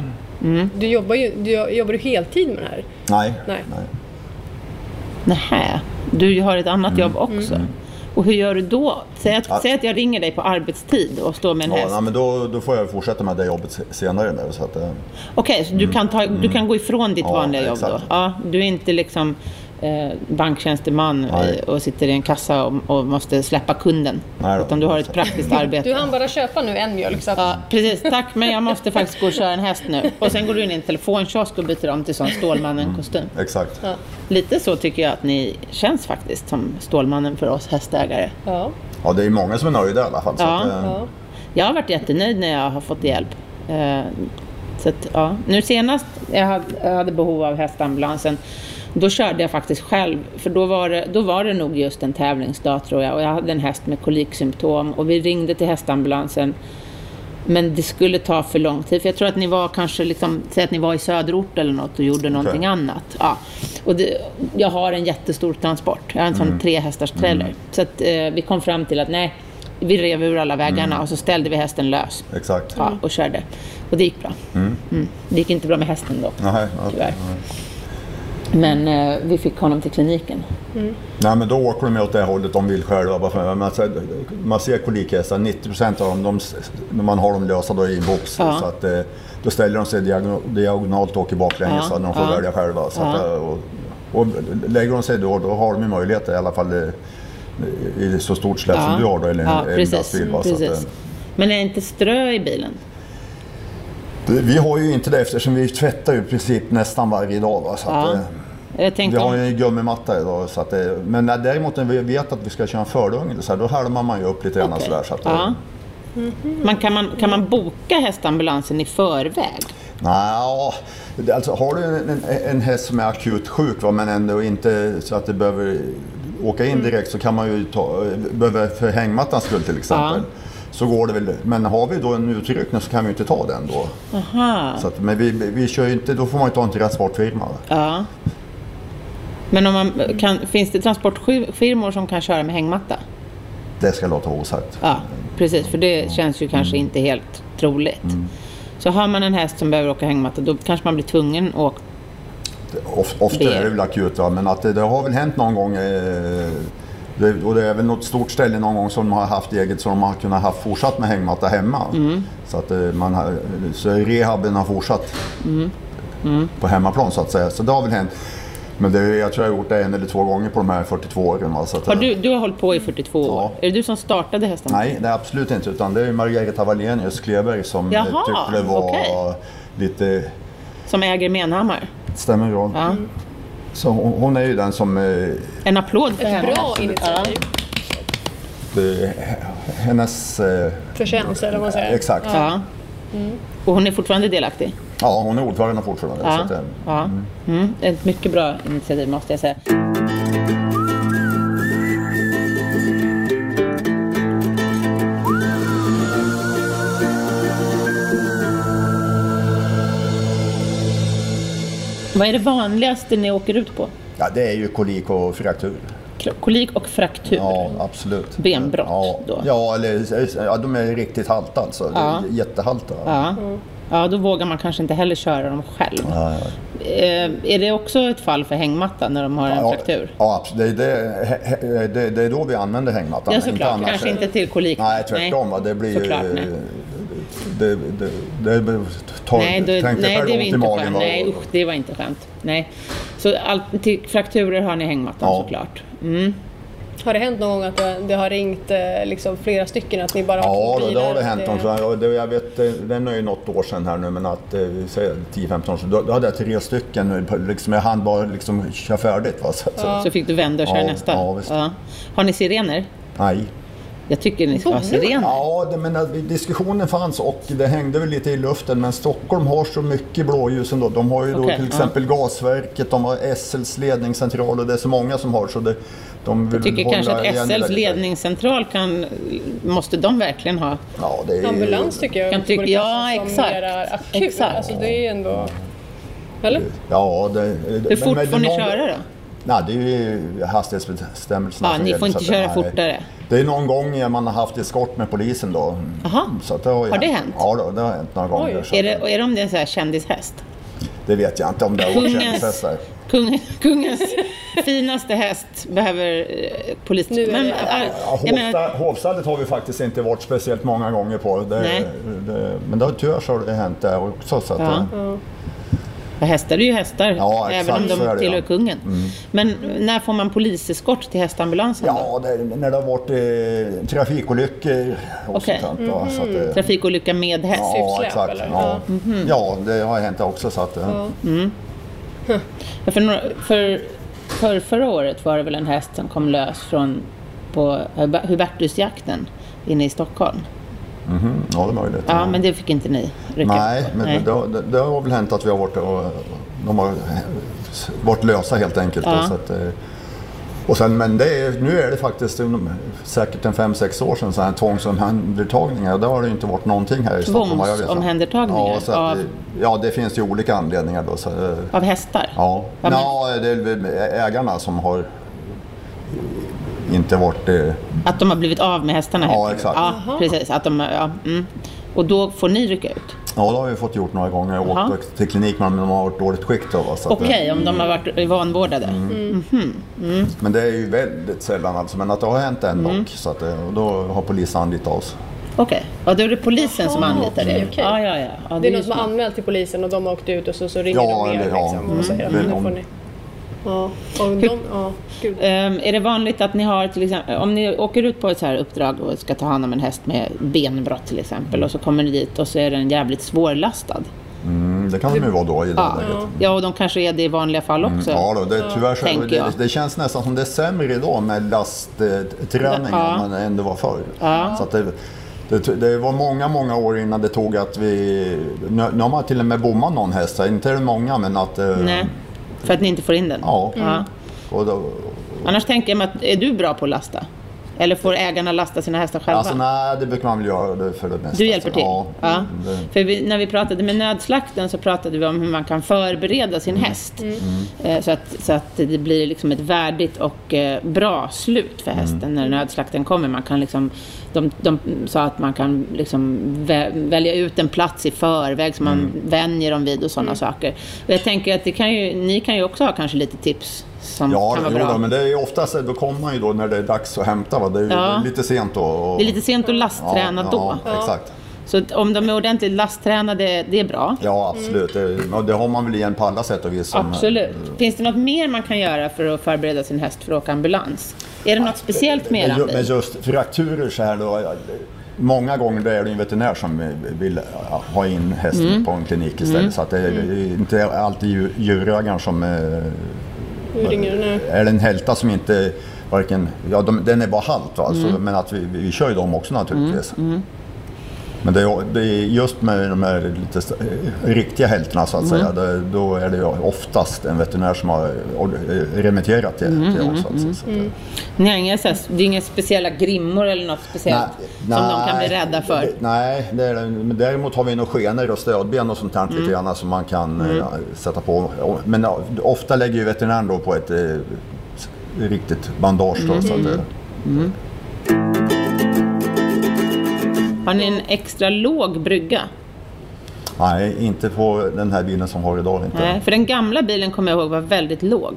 Speaker 2: Du jobbar ju du, jobbar du heltid med det här.
Speaker 3: nej.
Speaker 2: Nej.
Speaker 1: Nähä, du har ett
Speaker 3: Mm.
Speaker 1: annat jobb också? Och hur gör du då? Säg att,
Speaker 3: Ja.
Speaker 1: säg att jag ringer dig på arbetstid och står med en
Speaker 3: Ja,
Speaker 1: häst.
Speaker 3: nej, men då, då får jag fortsätta med det jobbet se- senare nu. Så att, eh,
Speaker 1: Okej, så du kan, ta, du kan gå ifrån ditt
Speaker 3: Ja,
Speaker 1: vanliga jobb
Speaker 3: exakt.
Speaker 1: då? Ja, du är inte liksom eh, banktjänsteman
Speaker 3: Nej.
Speaker 1: eh, och sitter i en kassa och, och måste släppa kunden.
Speaker 3: Nej då,
Speaker 1: utan du har ett
Speaker 3: exakt.
Speaker 1: praktiskt
Speaker 2: Du
Speaker 1: arbete.
Speaker 2: hann bara köpa nu en mjölk så att
Speaker 1: Ja, precis, tack men jag måste faktiskt gå och köra en häst nu. Och sen går du in i en telefonkiosk och byter om till sån Stålmannen-kostym.
Speaker 3: exakt. Ja.
Speaker 1: Lite så tycker jag att ni känns faktiskt som Stålmannen för oss hästägare.
Speaker 2: ja.
Speaker 3: det är många som är nöjda i alla fall. Så
Speaker 1: Ja.
Speaker 3: att, eh,
Speaker 2: Ja.
Speaker 1: Jag har varit jättenöjd när jag har fått hjälp. Eh, Så att, ja. Nu senast jag hade- jag hade behov av hästambulansen, då körde jag faktiskt själv. För då var, det, då var det nog just en tävlingsdag tror jag. Och jag hade en häst med koliksymptom och vi ringde till hästambulansen. Men det skulle ta för lång tid. För jag tror att ni var kanske, liksom, säg att ni var i söderort eller något och gjorde någonting annat. Ja. Och det, jag har en jättestor transport. Jag har en sån
Speaker 3: Mm.
Speaker 1: tre hästars trailer. Så att, eh, vi kom fram till att nej, vi rev ur alla vägarna
Speaker 3: Mm.
Speaker 1: och så ställde vi hästen lös.
Speaker 3: Exakt.
Speaker 1: Ja, och körde. Och det gick bra. Mm. Det gick inte bra med hästen dock,
Speaker 3: Nej, ja.
Speaker 1: tyvärr. Men eh, vi fick honom till kliniken.
Speaker 3: Nej men då åker de ju åt det hållet de vill själva. Bara för- Man ser, alltså, man ser kolikhästar, 90% av dem, de, när man har dem lösa då i en box.
Speaker 1: Ja.
Speaker 3: Så att, eh, då ställer de sig diagonal, diagonalt och åker baklänges
Speaker 1: Ja,
Speaker 3: så att de får
Speaker 1: ja.
Speaker 3: välja själva. Så att,
Speaker 1: Ja.
Speaker 3: eh, och, och lägger de sig då, då har de ju möjlighet i alla fall eh, i så stort släp som du har då, eller en-
Speaker 1: ja,
Speaker 3: en
Speaker 1: precis.
Speaker 3: lastbil. va, så att,
Speaker 1: precis.
Speaker 3: eh,
Speaker 1: Men är inte strö i bilen?
Speaker 3: det- vi har ju inte det eftersom vi tvättar ju i princip nästan varje dag. Va, så att,
Speaker 1: Ja.
Speaker 3: eh,
Speaker 1: Jag
Speaker 3: vi
Speaker 1: tänkte
Speaker 3: har
Speaker 1: om...
Speaker 3: ju en gummimatta idag, så att det, men när, däremot när vi vet att vi ska köra en fördunge, eller så här, då härmar man ju upp lite grann.
Speaker 1: Okej.
Speaker 3: sådär, Så att, eh,
Speaker 1: ja. Men kan, man, kan man boka hästambulansen i förväg?
Speaker 3: Nej, det- alltså har du en, en, en häst som är akut sjuk va, men ändå inte så att det behöver åka
Speaker 1: Mm.
Speaker 3: in direkt så kan man ju ta, behöver för hängmattans skull till exempel. Så går det väl, men har vi då en utryckning så kan vi ju inte ta den då.
Speaker 1: Aha.
Speaker 3: Så att, men vi, vi kör ju inte, då får man ju ta en transportfirma.
Speaker 1: Ja. Men om man kan, finns det transportfirmor som kan köra med hängmatta?
Speaker 3: Det ska jag låta vara osagt.
Speaker 1: Ja, precis. För det känns ju kanske inte helt troligt.
Speaker 3: Mm.
Speaker 1: Så har man en häst som behöver åka hängmatta, då kanske man blir tvungen att åka
Speaker 3: Of, ofta
Speaker 1: Det-
Speaker 3: är det väl akut, va? men att det, det har väl hänt någon gång. Eh, det, och det är väl något stort ställe någon gång som de har haft eget som de har kunnat ha fortsatt med hängmatta hemma.
Speaker 1: Mm.
Speaker 3: Så, att eh, man har, så rehaben har fortsatt
Speaker 1: Mm.
Speaker 3: på hemmaplan så att säga. Så det har väl hänt. Men det, jag tror jag har gjort det en eller två gånger på de här 42 åren. Va? Så att,
Speaker 1: Har du, du har hållit på i 42 år.
Speaker 3: Ja.
Speaker 1: Är det du som startade hästen?
Speaker 3: Nej, det är absolut inte. Utan det är Margareta Wallenius Kleberg som eh,
Speaker 1: Jaha,
Speaker 3: tyckte det var
Speaker 1: okej.
Speaker 3: lite
Speaker 1: Som äger Menhammar?
Speaker 3: Stämmer bra.
Speaker 1: Ja.
Speaker 3: Så hon, hon är ju den som... Eh,
Speaker 1: En applåd för henne.
Speaker 2: Bra initiativ.
Speaker 3: det- eh, hennes... Eh,
Speaker 2: Förtjänst eller vad man säger.
Speaker 3: Exakt. Ja.
Speaker 1: Ja. Och hon är fortfarande delaktig?
Speaker 3: hon är ordförande fortfarande. Så
Speaker 1: Ja.
Speaker 3: att, eh,
Speaker 1: ja. Mm. Ett mycket bra initiativ måste jag säga. Vad är det vanligaste ni åker ut på?
Speaker 3: ja, det är ju kolik och fraktur.
Speaker 1: Kolik och fraktur?
Speaker 3: Ja, absolut.
Speaker 1: Benbrott
Speaker 3: ja.
Speaker 1: då?
Speaker 3: Ja, eller, ja, de är riktigt halta alltså.
Speaker 1: Ja.
Speaker 3: Jättehalta.
Speaker 1: Ja. ja, då vågar man kanske inte heller köra dem själv.
Speaker 3: Ja,
Speaker 1: Eh, är det också ett fall för hängmatta när de har en fraktur?
Speaker 3: Ja, absolut. Det, det, he- he- det, det är då vi använder hängmattan.
Speaker 1: Ja,
Speaker 3: inte
Speaker 1: såklart.
Speaker 3: annars.
Speaker 1: Kanske inte till kolik.
Speaker 3: Nej, tvärtom. Va? Det blir ju...
Speaker 1: Såklart, nej.
Speaker 3: Det, det, det, det tar,
Speaker 1: Nej, då,
Speaker 3: tänk dig
Speaker 1: nej
Speaker 3: själv
Speaker 1: det var
Speaker 3: ont i
Speaker 1: inte
Speaker 3: magen.
Speaker 1: skönt.
Speaker 3: va?
Speaker 1: Nej, usch, det var inte skönt. Nej. Så allt, till frakturer har ni hängmattan
Speaker 3: Ja.
Speaker 1: såklart.
Speaker 2: Har det hänt någon gång att det, det har ringt eh, liksom, flera stycken? Att ni bara har
Speaker 3: Ja,
Speaker 2: två
Speaker 3: då, det
Speaker 2: bilar,
Speaker 3: har det
Speaker 2: att
Speaker 3: hänt.
Speaker 1: eh,
Speaker 3: någon sån här- och Det, jag vet, eh, den är ju något år sedan här nu, men att eh, vi säger 10-15 år sedan. Då, då hade jag tre stycken. nu på- Liksom, jag hann bara liksom köra färdigt. Va? Så, så,
Speaker 1: Så fick du vända och köra
Speaker 3: Ja,
Speaker 1: nästa.
Speaker 3: ja, visst.
Speaker 1: Har ni sirener?
Speaker 3: nej.
Speaker 1: Jag tycker ni ska ha
Speaker 2: Borde
Speaker 1: sirener.
Speaker 3: Ja, det, men eh, diskussionen fanns och det hängde väl lite i luften. Men Stockholm har så mycket blåljus ändå. De har ju då
Speaker 1: Okej,
Speaker 3: till exempel Gasverket, de har SLs ledningscentral och det är så många som har så det, de vill
Speaker 1: Jag tycker
Speaker 3: väl
Speaker 1: kanske
Speaker 3: hålla igen
Speaker 1: att
Speaker 3: det där
Speaker 1: SLs
Speaker 3: lite.
Speaker 1: ledningscentral kan... Måste de verkligen ha?
Speaker 3: Ja, det är,
Speaker 2: Ambulans tycker jag
Speaker 1: Kan tycka-
Speaker 2: borde klassas
Speaker 1: ja,
Speaker 2: som
Speaker 1: exakt.
Speaker 2: mera akut.
Speaker 1: Exakt.
Speaker 2: Alltså, det är ju ändå... Eller?
Speaker 3: Ja, det,
Speaker 1: Hur fort får ni köra
Speaker 3: Alltså,
Speaker 1: då?
Speaker 3: Nej, det är ju hastighetsbestämmelserna.
Speaker 1: Ja,
Speaker 3: som
Speaker 1: ni
Speaker 3: gäller,
Speaker 1: får inte
Speaker 3: så att-
Speaker 1: köra
Speaker 3: nej.
Speaker 1: fortare.
Speaker 3: Det är någon gång man har haft eskort med polisen då.
Speaker 1: Jaha.
Speaker 3: Så att det har, ju
Speaker 1: Har det hänt?
Speaker 3: Ja, då, det har hänt några gånger.
Speaker 2: Oj.
Speaker 3: så
Speaker 1: Är
Speaker 3: att-
Speaker 1: det, och är det om det är en sån här kändishäst?
Speaker 3: Det vet jag inte om det har varit
Speaker 1: Kungens-
Speaker 3: kändisfester.
Speaker 1: Kung, kungens finaste häst behöver eh, polis...
Speaker 2: Nu är det-
Speaker 1: äh,
Speaker 3: Ja,
Speaker 1: jag menar-
Speaker 3: Hovsta, Hovstallet har vi faktiskt inte varit speciellt många gånger på. Det,
Speaker 1: Nej.
Speaker 3: det, men det har tyvärr så har det hänt där också. Så att,
Speaker 1: Ja. Mm.
Speaker 3: eh,
Speaker 1: Ja, hästar är ju hästar,
Speaker 3: Ja,
Speaker 1: även
Speaker 3: exakt,
Speaker 1: om
Speaker 3: så är
Speaker 1: de
Speaker 3: det,
Speaker 1: tillhör
Speaker 3: ja. Mm.
Speaker 1: kungen. Men när får man poliseskort till hästambulansen? då?
Speaker 3: ja det, när det har varit eh, trafikolyckor och
Speaker 1: Okej. Mm-hmm.
Speaker 3: sånt. va, Så att, eh,
Speaker 1: Trafikolycka med häst.
Speaker 3: Ja,
Speaker 2: Sydsläp,
Speaker 3: exakt.
Speaker 2: eller?
Speaker 3: Ja.
Speaker 1: Mm-hmm.
Speaker 3: ja, det har hänt också. Så att, eh,
Speaker 1: Ja, För, några, för, för förra året var det väl en häst som kom lös från på Huber- Hubertusjakten inne i Stockholm.
Speaker 3: ja, det är möjligt.
Speaker 1: Ja, men det fick inte ni rycka
Speaker 3: Mm. Nej,
Speaker 1: på.
Speaker 3: men Det, har- det, det har väl hänt att vi har varit, och, de har varit lösa helt enkelt. då,
Speaker 1: Ja.
Speaker 3: Så att, eh, och sen, men det är, nu är det faktiskt en- säkert en fem sex år sedan så här tvångsomhändertagningar. och Det har det ju inte varit någonting här i Stockholm. vad jag vet.
Speaker 1: Tvångsomhändertagningar
Speaker 3: Ja, så att,
Speaker 1: av-
Speaker 3: eh, ja, det finns ju olika anledningar. Då, så, eh,
Speaker 1: Av hästar?
Speaker 3: ja.
Speaker 1: Ja, men-
Speaker 3: Ja, det är väl ägarna som har inte varit... Eh,
Speaker 1: Att de har blivit av med hästarna?
Speaker 3: Ja,
Speaker 1: helt enkelt.
Speaker 3: exakt.
Speaker 1: Ja, precis. Att de, ja, mm. Och då får ni rycka ut?
Speaker 3: ja, det har vi fått gjort några gånger. Jag har
Speaker 1: Jaha.
Speaker 3: åkt till klinik men de har varit dåligt skick. Då, va, så att, eh,
Speaker 1: Okej, om de har varit vanvårdade?
Speaker 3: Mm. Men det är ju väldigt sällan alltså. Men att det har hänt en
Speaker 1: Mm.
Speaker 3: dock. Så att, det- och då har polisen anlitat oss.
Speaker 1: Okej, ja, då är det polisen som
Speaker 2: Jaha,
Speaker 1: anlitar
Speaker 2: okej,
Speaker 1: er?
Speaker 2: okej.
Speaker 1: Ja, ja, ja. ja
Speaker 2: Det är
Speaker 1: ju
Speaker 2: någon som har
Speaker 1: smart.
Speaker 2: anmält till polisen och de har åkt ut och så, så ringer
Speaker 3: Ja,
Speaker 2: de er
Speaker 3: eller- ja.
Speaker 2: liksom, och säger att
Speaker 3: Mm.
Speaker 2: nu får ni... Ja, och de... Ja, gud.
Speaker 1: Ehm, är det vanligt att ni har till exempel, om ni åker ut på ett så här uppdrag och ska ta hand om en häst med benbrott till exempel och så kommer ni dit och så är den jävligt svårlastad.
Speaker 3: Mm, det kan de ju vara då i det
Speaker 1: Ja,
Speaker 3: läget.
Speaker 1: ja och de kanske är det i vanliga fall också.
Speaker 3: Mm, Ja, då, det, tyvärr så,
Speaker 1: Tänker
Speaker 3: det,
Speaker 1: jag.
Speaker 3: det känns nästan som det är sämre idag med lastträning
Speaker 1: Ja.
Speaker 3: än man ändå var förr. Så att det, det, det var många, många år innan det tog att vi... Nu, nu har man till och med bommat någon häst. här. Inte många, men att... eh,
Speaker 1: Nej, för att ni inte får in den.
Speaker 3: Ja.
Speaker 1: Ja.
Speaker 3: Och då,
Speaker 1: Annars tänker jag mig att, är du bra på att lasta? Eller får ägarna lasta sina hästar själva?
Speaker 3: Alltså nej, det brukar man väl göra det för det mesta.
Speaker 1: Du hjälper till?
Speaker 3: Alltså, Ja. Mm,
Speaker 1: Ja.
Speaker 3: Det,
Speaker 1: För vi, när vi pratade med nödslakten så pratade vi om hur man kan förbereda
Speaker 3: Mm.
Speaker 1: sin häst. Eh, Så, att, så att det blir liksom ett värdigt och eh, bra slut för hästen
Speaker 3: Mm.
Speaker 1: när nödslakten kommer. Man kan liksom, de, de sa att man kan liksom vä- välja ut en plats i förväg som man
Speaker 3: Mm.
Speaker 1: vänjer dem vid och sådana saker. Och jag tänker att det kan ju, ni kan ju också ha kanske lite tips som
Speaker 3: ja,
Speaker 1: kan vara
Speaker 3: jo,
Speaker 1: bra.
Speaker 3: då, men det är ju oftast, då kommer man ju då när det är dags att hämta. Va? Det är ju
Speaker 1: Ja.
Speaker 3: lite sent då. Och,
Speaker 1: Det är lite sent att lastträna
Speaker 3: ja,
Speaker 1: då.
Speaker 3: Ja, exakt.
Speaker 1: Så att om de är ordentligt lasttränade, det är bra.
Speaker 3: Ja, absolut. Det, och det har man väl igen på alla sätt och vis. som-
Speaker 1: Absolut. Finns det något mer man kan göra för att förbereda sin häst för att åka ambulans? Är det något speciellt med
Speaker 3: Men ju- Men
Speaker 1: den?
Speaker 3: just frakturer så här då. ja, Många gånger då är det en veterinär som vill ja, ha in hästen
Speaker 1: Mm.
Speaker 3: på en klinik istället. Så att det är inte alltid djur- djurägaren som... eh,
Speaker 2: Nu ringer det nu.
Speaker 3: Är det en hälta som inte varken... Ja, de, den är bara halt va?
Speaker 1: Mm.
Speaker 3: Så, men att vi, vi vi kör ju dem också naturligtvis. Men det är, det är just med de här lite st- eh, riktiga hältorna så att
Speaker 1: Mm.
Speaker 3: säga. Det, då är det ju oftast en veterinär som har eh, remitterat till,
Speaker 1: Mm.
Speaker 3: till oss. Alltså, så att, det-
Speaker 1: Ni har inga, så här, det är inga speciella grimmor eller något speciellt som de kan bli rädda för?
Speaker 3: d- Nej, det är, det. men däremot har vi nog skenor och stödben och sånt här
Speaker 1: Mm.
Speaker 3: lite grann som man kan eh, sätta på. Men ja, ofta lägger ju veterinären då på ett eh, s- riktigt bandage. Då,
Speaker 1: Mm.
Speaker 3: så att, eh,
Speaker 1: Har ni en extra låg brygga?
Speaker 3: nej, inte på den här bilen som har idag. Inte.
Speaker 1: Nej, för den gamla bilen kommer jag ihåg var väldigt låg.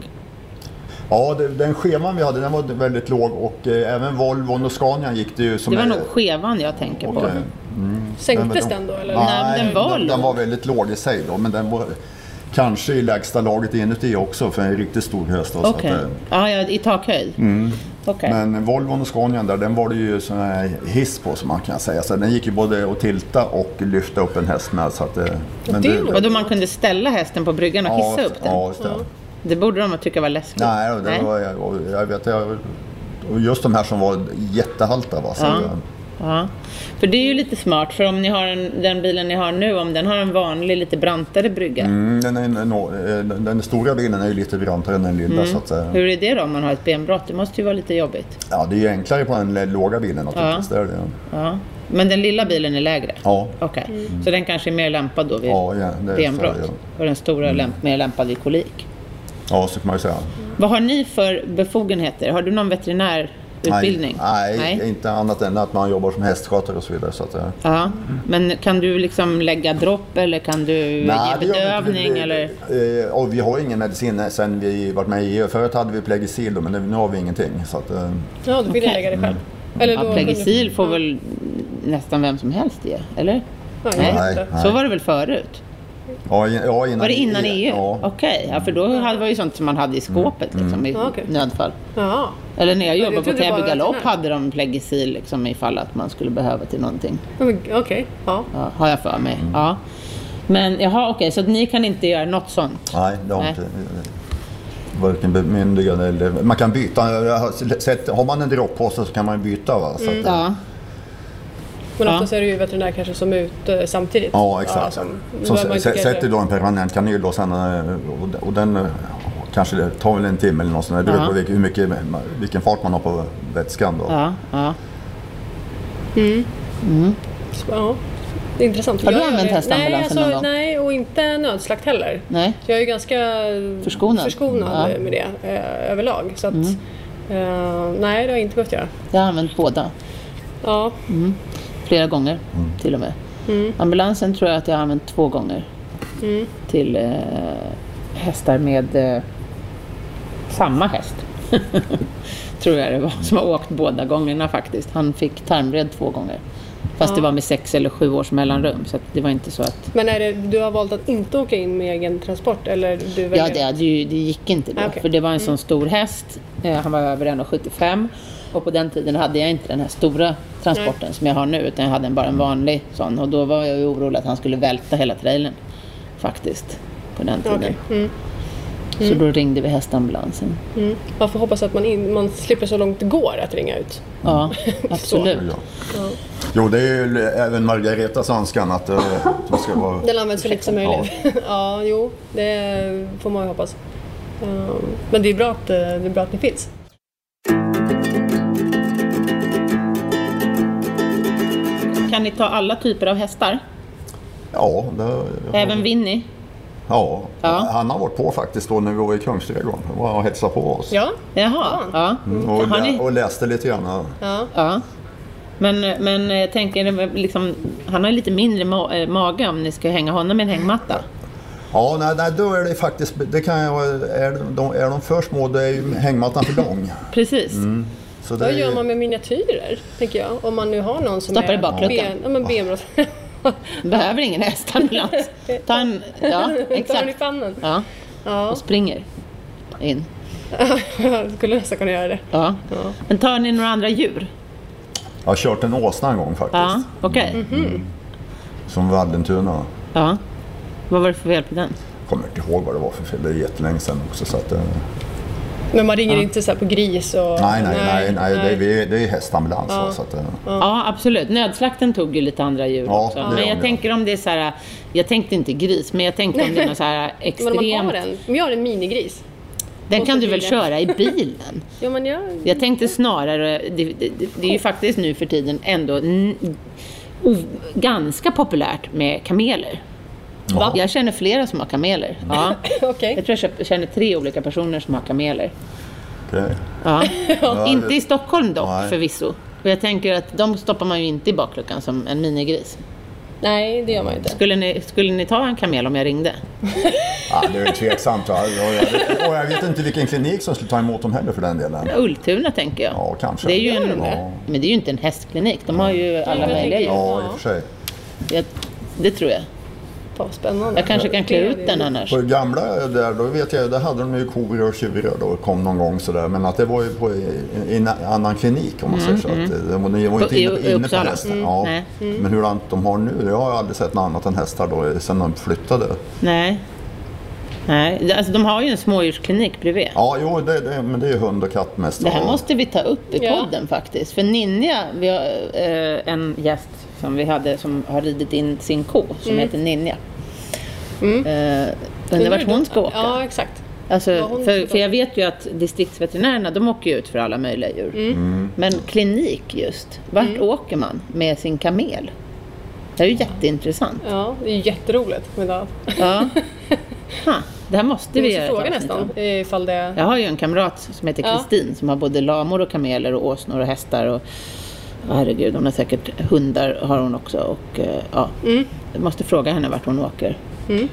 Speaker 3: Ja, det, den scheman vi hade den var väldigt låg och eh, även Volvo och Scania gick det ju som...
Speaker 1: Det var
Speaker 3: en-
Speaker 1: nog skevan jag tänker på.
Speaker 3: och, eh,
Speaker 2: Sänktes
Speaker 3: men
Speaker 2: den då eller?
Speaker 1: Nej, men den var
Speaker 3: den, den
Speaker 1: låg.
Speaker 3: var väldigt låg i sig då, men den var kanske i lägsta laget inuti också för en riktigt stor höst. Då, så att,
Speaker 1: Okej.
Speaker 3: eh,
Speaker 1: Ja, ja, i takhöjd? Mm.
Speaker 3: Men Volvon och Scanian där, den var det ju sån här hiss på som man kan säga. Så den gick ju både att tilta och lyfta upp en häst med. Så att, eh, men
Speaker 2: det var-
Speaker 1: Och då man kunde ställa hästen på bryggan och hissa
Speaker 3: ja,
Speaker 1: upp den? Mm.
Speaker 3: Ja, just det.
Speaker 1: Det borde de tycka var läskigt.
Speaker 3: Nej, och det Var, och jag vet jag, och just de här som var jättehalta. Va? Så,
Speaker 1: Ja.
Speaker 3: eh,
Speaker 1: Ja, för det är ju lite smart. För om ni har en, den bilen ni har nu, om den har en vanlig lite brantare brygga.
Speaker 3: mm, den, är, nå- eh, den, den stora bilen är ju lite brantare än den lilla.
Speaker 1: Mm.
Speaker 3: Så att, eh,
Speaker 1: Hur är det då om man har ett benbrott? Det måste ju vara lite jobbigt.
Speaker 3: ja, det är ju enklare på den l- låga bilen naturligtvis. Det är det.
Speaker 1: Ja. Men den lilla bilen är lägre?
Speaker 3: Ja.
Speaker 1: Okej, så den kanske är mer lämpad då vid
Speaker 3: Ja, ja, det är
Speaker 1: benbrott?
Speaker 3: så, ja. Mm.
Speaker 1: Och den stora är lämp- mer lämpad vid kolik?
Speaker 3: ja, så kan man ju säga.
Speaker 1: Vad har ni för befogenheter? Har du någon veterinärutbildning?
Speaker 3: Nej, nej, inte annat än att man jobbar som hästskötare och så vidare. Så att, eh,
Speaker 1: Ja. Men kan du liksom lägga dropp eller kan du ge
Speaker 3: det gör vi inte.
Speaker 1: bedövning?
Speaker 3: Vi-
Speaker 1: Eller?
Speaker 3: Eh, och vi har ingen medicin sen vi varit med i EU. Förut hade vi Plegisil då, men nu- nu har vi ingenting. Så att, eh,
Speaker 2: Ja, då fick ni
Speaker 1: Okej.
Speaker 2: lägga det själv. Eller då
Speaker 1: Ja, Plegisil får väl nästan vem som helst ge, eller?
Speaker 2: Ja, jag
Speaker 1: Nej.
Speaker 2: vet inte.
Speaker 3: Nej.
Speaker 1: Så var det väl förut?
Speaker 3: ja, in- ja, innan E
Speaker 1: Var det innan E EU?
Speaker 3: Ja.
Speaker 1: Okej, ja, för då hade- var det ju sånt som man hade i skåpet liksom, i
Speaker 2: Mm. Ja, okej.
Speaker 1: nödfall.
Speaker 2: Ja.
Speaker 1: Eller när jag jobbade på
Speaker 2: trodde bara
Speaker 1: Täby
Speaker 2: att
Speaker 1: galopp
Speaker 2: den här-
Speaker 1: hade de Plegisil liksom, ifall att man skulle behöva till någonting.
Speaker 2: Ja, men Okej, ja.
Speaker 1: Ja, har jag för mig.
Speaker 2: Mm.
Speaker 1: Ja. Men jaha, okej, så att ni kan inte göra något sånt?
Speaker 3: Nej, det har
Speaker 1: Nej.
Speaker 3: inte. eh, Varken bemyndigande eller... Man kan byta. Jag har sett- Har man en droppåse så kan man ju byta. Va? Så att,
Speaker 2: Mm.
Speaker 3: eh,
Speaker 1: Ja.
Speaker 2: Men
Speaker 1: Ja.
Speaker 2: oftast är det ju veterinär kanske som är ute samtidigt.
Speaker 3: Ja, exakt.
Speaker 2: som-
Speaker 3: så
Speaker 2: Då är man
Speaker 3: s-
Speaker 2: inte
Speaker 3: s-
Speaker 2: kanske-
Speaker 3: sätter då en permanent kanyl och, sen, eh, och, och den eh, kanske det tar väl en timme eller något sånt. där. Det beror
Speaker 1: Ja.
Speaker 3: på vilken, hur mycket, vilken fart man har på vätskan då.
Speaker 1: Ja, ja.
Speaker 2: Ja, det är intressant.
Speaker 1: Har du
Speaker 2: Jag gör
Speaker 1: använt
Speaker 2: det-
Speaker 1: hästambulansen
Speaker 2: nej, alltså,
Speaker 1: någon gång?
Speaker 2: Nej, och inte nödslakt heller.
Speaker 1: Nej.
Speaker 2: Så jag är ju ganska
Speaker 1: Förskonad. Ja. Mm.
Speaker 2: med det eh, överlag. Så att, eh, nej, det har jag inte behövt göra.
Speaker 1: Jag har använt båda.
Speaker 2: Ja,
Speaker 1: Flera gånger till och med. Ambulansen tror jag att jag har använt två gånger. Till eh, hästar med eh, samma häst. tror jag det var. Som har åkt båda gångerna faktiskt. Han fick tarmvred två gånger. Fast det var med sex eller sju års mellanrum. Så att det var inte så att...
Speaker 2: Men är det, du har valt att inte åka in med egen transport? Eller du
Speaker 1: Ja,
Speaker 2: väljer-
Speaker 1: det, hade ju, det gick inte då.
Speaker 2: Ah, okej.
Speaker 1: För det var en sån stor häst. Eh, han var över 1,75. Och på den tiden hade jag inte den här stora transporten som jag har nu. Utan jag hade en- bara en vanlig sån. Och då var jag ju orolig att han skulle välta hela trailern. Faktiskt. På den tiden.
Speaker 2: Okej. Mm.
Speaker 1: Så då ringde vi hästambulansen.
Speaker 2: Mm. Man får hoppas att man, in, man slipper så långt det går att ringa ut.
Speaker 1: Ja,
Speaker 2: Mm.
Speaker 1: absolut.
Speaker 3: Ja. Jo, det är ju även Margaretas önskan att eh, det ska vara...
Speaker 2: Den används så lite som
Speaker 3: Ja.
Speaker 2: möjligt. Ja, jo, det får man ju hoppas. Eh, Men det är bra att, eh, det är bra att ni finns.
Speaker 1: kan ni ta alla typer av hästar?
Speaker 3: Ja, det,
Speaker 1: Även Winnie?
Speaker 3: ja.
Speaker 1: Ja.
Speaker 3: han har varit på faktiskt då när vi var i Kungsträdgården och han hälsade på oss.
Speaker 2: Ja. Mm.
Speaker 1: Jaha. Ja.
Speaker 3: Och,
Speaker 1: Har
Speaker 3: lä-
Speaker 1: ni?
Speaker 3: och läste lite grann.
Speaker 2: ja.
Speaker 1: ja. Men, men jag tänker, det var liksom, han har ju lite mindre ma- eh, mage om ni ska hänga honom i en hängmatta.
Speaker 3: Ja, nej, nej, då är det faktiskt, det kan jag, är, de, är de för små då är ju hängmattan för lång.
Speaker 1: Precis.
Speaker 3: Mm. Så det
Speaker 2: Vad
Speaker 3: är ju-
Speaker 2: gör man med miniatyrer, tänker jag? Om man nu har någon som
Speaker 1: Stoppar
Speaker 2: är
Speaker 1: i bakluckan.
Speaker 2: ben- Ja, men benbrott.
Speaker 1: Behöver ingen hästambulans. Ta en, ja,
Speaker 2: Tar den i
Speaker 1: exakt.
Speaker 2: pannan.
Speaker 1: Ja,
Speaker 2: Ja,
Speaker 1: och springer in.
Speaker 2: jag skulle nästan kunna göra det.
Speaker 1: Ja.
Speaker 2: Ja.
Speaker 1: Men tar ni några andra djur?
Speaker 3: Jag har kört en åsna en gång faktiskt.
Speaker 1: Ja, okej.
Speaker 2: Mhm.
Speaker 3: Som Vallentuna.
Speaker 1: Ja. Vad var det för fel på den?
Speaker 3: Kommer inte ihåg vad det var för fel, det är jättelänge sedan också. Så att, eh,
Speaker 2: Men man ringer inte så här på gris och...
Speaker 3: nej, nej, nej, nej, Det, är, vi- det är hästambulans. va, Så att, eh,
Speaker 1: Ja, absolut. Nödslakten tog ju lite andra djur
Speaker 3: Ja,
Speaker 1: också.
Speaker 3: det
Speaker 1: Men
Speaker 3: gör
Speaker 1: jag
Speaker 3: den,
Speaker 1: tänker om det är så här... Jag tänkte inte gris, men jag tänkte om det är något så här
Speaker 2: Men om man har
Speaker 1: extremt...
Speaker 2: en, om jag har en minigris.
Speaker 1: Den kan du väl
Speaker 2: Bilen.
Speaker 1: köra i bilen?
Speaker 2: Ja, men jag...
Speaker 1: Jag tänkte snarare... Det, det, det är ju faktiskt nu för tiden ändå n- o, ganska populärt med kameler.
Speaker 3: Va?
Speaker 1: Jag känner flera som har kameler. Ja.
Speaker 2: Okej.
Speaker 1: Jag tror jag köp- känner tre olika personer som har kameler.
Speaker 3: okej.
Speaker 1: Ja. Inte i Stockholm dock
Speaker 3: Nej.
Speaker 1: förvisso. Och jag tänker att de stoppar man ju inte i bakluckan som en minigris.
Speaker 2: Nej, det gör man inte.
Speaker 1: Skulle ni, skulle ni ta en kamel om jag ringde?
Speaker 3: ja, det är ju tveksamt. va. Och jag, och jag vet inte vilken klinik som skulle ta emot dem heller för den delen.
Speaker 1: Ultuna tänker jag.
Speaker 3: Ja, kanske.
Speaker 1: Det är ju en,
Speaker 2: de det?
Speaker 1: Men det är ju inte en hästklinik. De har ju alla
Speaker 2: jag
Speaker 1: möjliga
Speaker 2: tänker-
Speaker 1: djur.
Speaker 3: Ja, i och för sig.
Speaker 1: Jag, det tror jag.
Speaker 2: Fan, spännande.
Speaker 1: Jag kanske kan klä ut den annars.
Speaker 3: På det gamla där, då vet jag, där hade de ju koror och tjurar då kom någon gång sådär. Men att det var ju på i- i en annan klinik om man säger så. Att, eh, de var ju
Speaker 1: Mm, På-
Speaker 3: inte
Speaker 1: i-
Speaker 3: inne,
Speaker 1: i
Speaker 3: inne på
Speaker 1: Uppsala.
Speaker 3: hästen.
Speaker 1: Mm,
Speaker 3: Ja.
Speaker 1: nej.
Speaker 3: Men hur de har nu, jag har aldrig sett något annat än hästar då sen de flyttade.
Speaker 1: Nej. Nej, alltså de har ju en smådjursklinik bredvid.
Speaker 3: Ja, jo, det, det, men det är ju hund och katt mest.
Speaker 1: Det här
Speaker 3: Ja.
Speaker 1: måste vi ta upp i
Speaker 2: Ja.
Speaker 1: podden faktiskt. För Ninja, vi har eh, en gäst som vi hade som har ridit in sin ko som
Speaker 2: Mm.
Speaker 1: heter Ninja. Eh, undrar vart hon ska åka.
Speaker 2: Ja, exakt.
Speaker 1: Alltså,
Speaker 2: Ja, hon
Speaker 1: för,
Speaker 2: ska
Speaker 1: för jag vet ju att distriktsveterinärerna de åker ju ut för alla möjliga djur.
Speaker 2: Mm.
Speaker 1: Men klinik just, vart åker man med sin kamel? Det är ju jätteintressant.
Speaker 2: Ja, det är ju jätteroligt med allt.
Speaker 1: Ja. Ha, det här måste
Speaker 2: Vi
Speaker 1: vi
Speaker 2: måste
Speaker 1: göra ett
Speaker 2: fråga
Speaker 1: avsnitt om.
Speaker 2: nästan ifall det...
Speaker 1: Jag har ju en kamrat som heter
Speaker 2: Ja.
Speaker 1: Kristin som har både lamor och kameler och åsnor och hästar och ja, herregud, hon har säkert hundar har hon också och eh, ja,
Speaker 2: Mm.
Speaker 1: jag måste fråga henne vart hon åker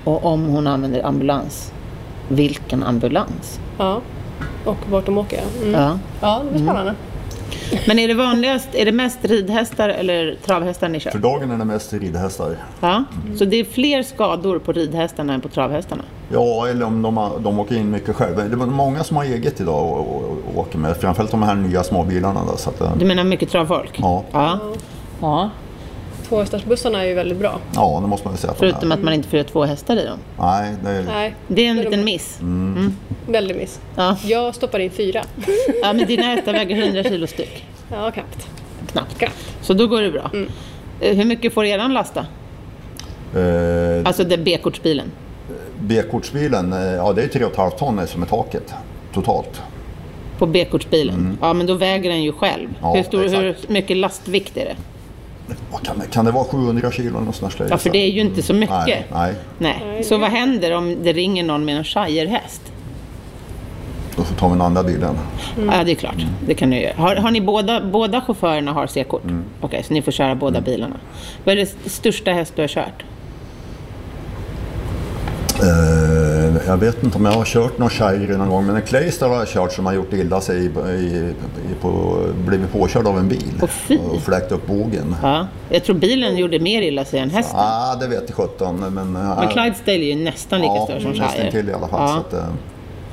Speaker 1: och om hon använder ambulans. Vilken ambulans?
Speaker 2: Ja. Och vart de åker. Mm.
Speaker 1: Ja.
Speaker 2: Ja, det blir spännande.
Speaker 1: Men är det vanligast, är det mest ridhästar eller travhästar ni
Speaker 3: För
Speaker 1: kör?
Speaker 3: dagen är det mest ridhästar.
Speaker 1: Ja.
Speaker 2: Mm.
Speaker 1: Så det är fler skador på ridhästarna än på travhästarna?
Speaker 3: Ja, eller om de, har- de åker in mycket själva. Det är många som har eget idag och, och, och åker med. Framförallt de här nya småbilarna. Då, så att, eh,
Speaker 1: Du menar mycket travfolk?
Speaker 3: ja,
Speaker 1: Ja. ja.
Speaker 2: Tvåhästarsbussarna är ju väldigt bra.
Speaker 3: ja, det måste man ju säga. att de är.
Speaker 1: Förutom att man inte får göra två hästar i dem.
Speaker 3: Nej, det är...
Speaker 2: Nej,
Speaker 1: Det är en
Speaker 2: Men de-
Speaker 1: liten miss.
Speaker 3: Mm.
Speaker 2: väldigt miss.
Speaker 1: Ja.
Speaker 2: Jag stoppar in fyra.
Speaker 1: Ja, men dina hästar väger 100 kilo styck.
Speaker 2: Ja, knappt.
Speaker 1: Knappt.
Speaker 2: Knappt.
Speaker 1: Så då går det bra. Eh, Hur mycket får eran lasta?
Speaker 3: Eh,
Speaker 1: Alltså den B-kortsbilen.
Speaker 3: B-kortsbilen, eh, ja det är 3,5 ton är som är taket totalt.
Speaker 1: På B-kortsbilen. Ja, men då väger den ju själv.
Speaker 3: Mm. Ja,
Speaker 1: hur, stor,
Speaker 3: exakt.
Speaker 1: hur mycket lastvikt är det?
Speaker 3: Vad Kan, det- kan det vara 700 kilo eller sånt där?
Speaker 1: Ja, för det är ju inte så mycket.
Speaker 3: Nej, nej.
Speaker 1: Nej. Så vad händer om det ringer någon med en shirehäst?
Speaker 3: Då får vi ta den andra bilen.
Speaker 1: Ja, det är klart.
Speaker 3: Mm.
Speaker 1: Det kan ni göra. Har, har ni båda, båda chaufförerna har C-kort?
Speaker 3: Mm.
Speaker 1: Okej, så ni får köra båda bilarna. Vad är det st- största häst du har kört?
Speaker 3: Eh, jag vet inte om jag har kört någon shire någon gång, men en Claystar har jag kört som har gjort illa sig, i, i, i, på, blivit påkörd av en bil
Speaker 1: Åh, fy.
Speaker 3: och fläkt upp bogen.
Speaker 1: Ja. Jag tror bilen gjorde mer illa sig än hästen.
Speaker 3: Ah, det vet jag sjutton, men... eh,
Speaker 1: Men Clydesdale är ju nästan lika stor som Shire.
Speaker 3: till i alla fall.
Speaker 1: Ja.
Speaker 3: Så att, eh,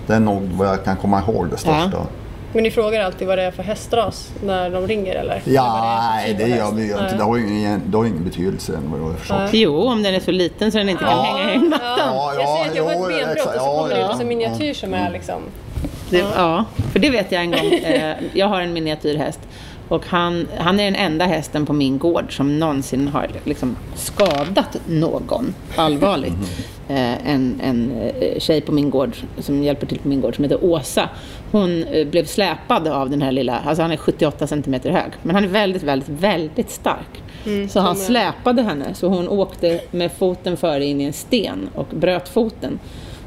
Speaker 3: det är nog vad jag kan komma ihåg det största.
Speaker 2: Men ni frågar alltid vad det är för hästras när de ringer eller?
Speaker 3: Ja,
Speaker 2: Vad är för
Speaker 3: nej,
Speaker 2: typ
Speaker 3: det
Speaker 2: av
Speaker 3: gör
Speaker 2: häst?
Speaker 3: vi ju inte. Det har ju ingen, det har ju ingen betydelse. vad jag har förstått.
Speaker 1: Jo, om den är så liten så den inte kan hänga i mattan.
Speaker 3: Ja,
Speaker 2: jag säger att jag
Speaker 3: ja,
Speaker 2: har ett benbrott och
Speaker 3: exakt.
Speaker 2: så
Speaker 3: Ja,
Speaker 2: kommer det
Speaker 3: ja. Mm.
Speaker 2: ut en miniatyr som är liksom...
Speaker 1: Det, ja, för det vet jag en gång. Eh, jag har en miniatyrhäst Och han, han är den enda hästen på min gård som någonsin har liksom skadat någon allvarligt. Eh, en, en eh, tjej på min gård som hjälper till på min gård som heter Åsa. Hon eh, blev släpad av den här lilla, alltså han är 78 centimeter hög. Men han är väldigt, väldigt, väldigt stark. så han släpade henne så hon åkte med foten före in i en sten och bröt foten.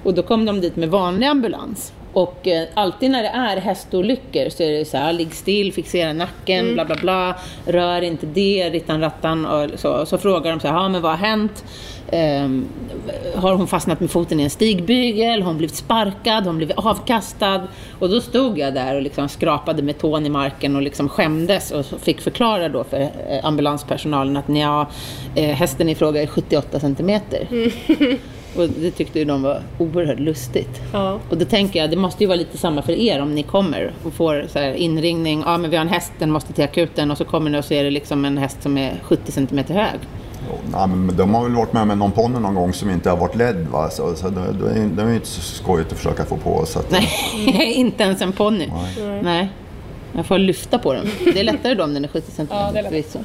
Speaker 1: Och då kom de dit med vanlig ambulans. Och eh, alltid när det är hästolyckor så är det så här, ligg still, fixera nacken, bla bla bla, rör inte det, rittan rattan och så. Så frågar de så här, ja men vad har hänt? Ehm, har hon fastnat med foten i en stigbygel? Har hon blivit sparkad? Har hon blivit avkastad? Och då stod jag där och liksom skrapade med tån i marken och liksom skämdes och så fick förklara då för eh, ambulanspersonalen att nja, eh, hästen i fråga är 78 centimeter. Och det tyckte ju de var oerhört lustigt.
Speaker 2: Ja.
Speaker 1: Och då tänker jag, det måste ju vara lite samma för er om ni kommer och får så här inringning. Ja, men vi har en häst, den måste till akuten. Och så kommer ni och så är det liksom en häst som är 70 centimeter hög.
Speaker 3: Ja, men de har väl varit med med någon ponny någon gång som inte har varit ledd. Va? Så, så det, det, är- det är ju inte så skojigt att försöka få på. Så att,
Speaker 1: Nej, inte ens en ponny. Nej. Jag får lyfta på den. Det är lättare då om den är 70 centimeter.
Speaker 2: Ja, det är lätt.
Speaker 1: förvisso.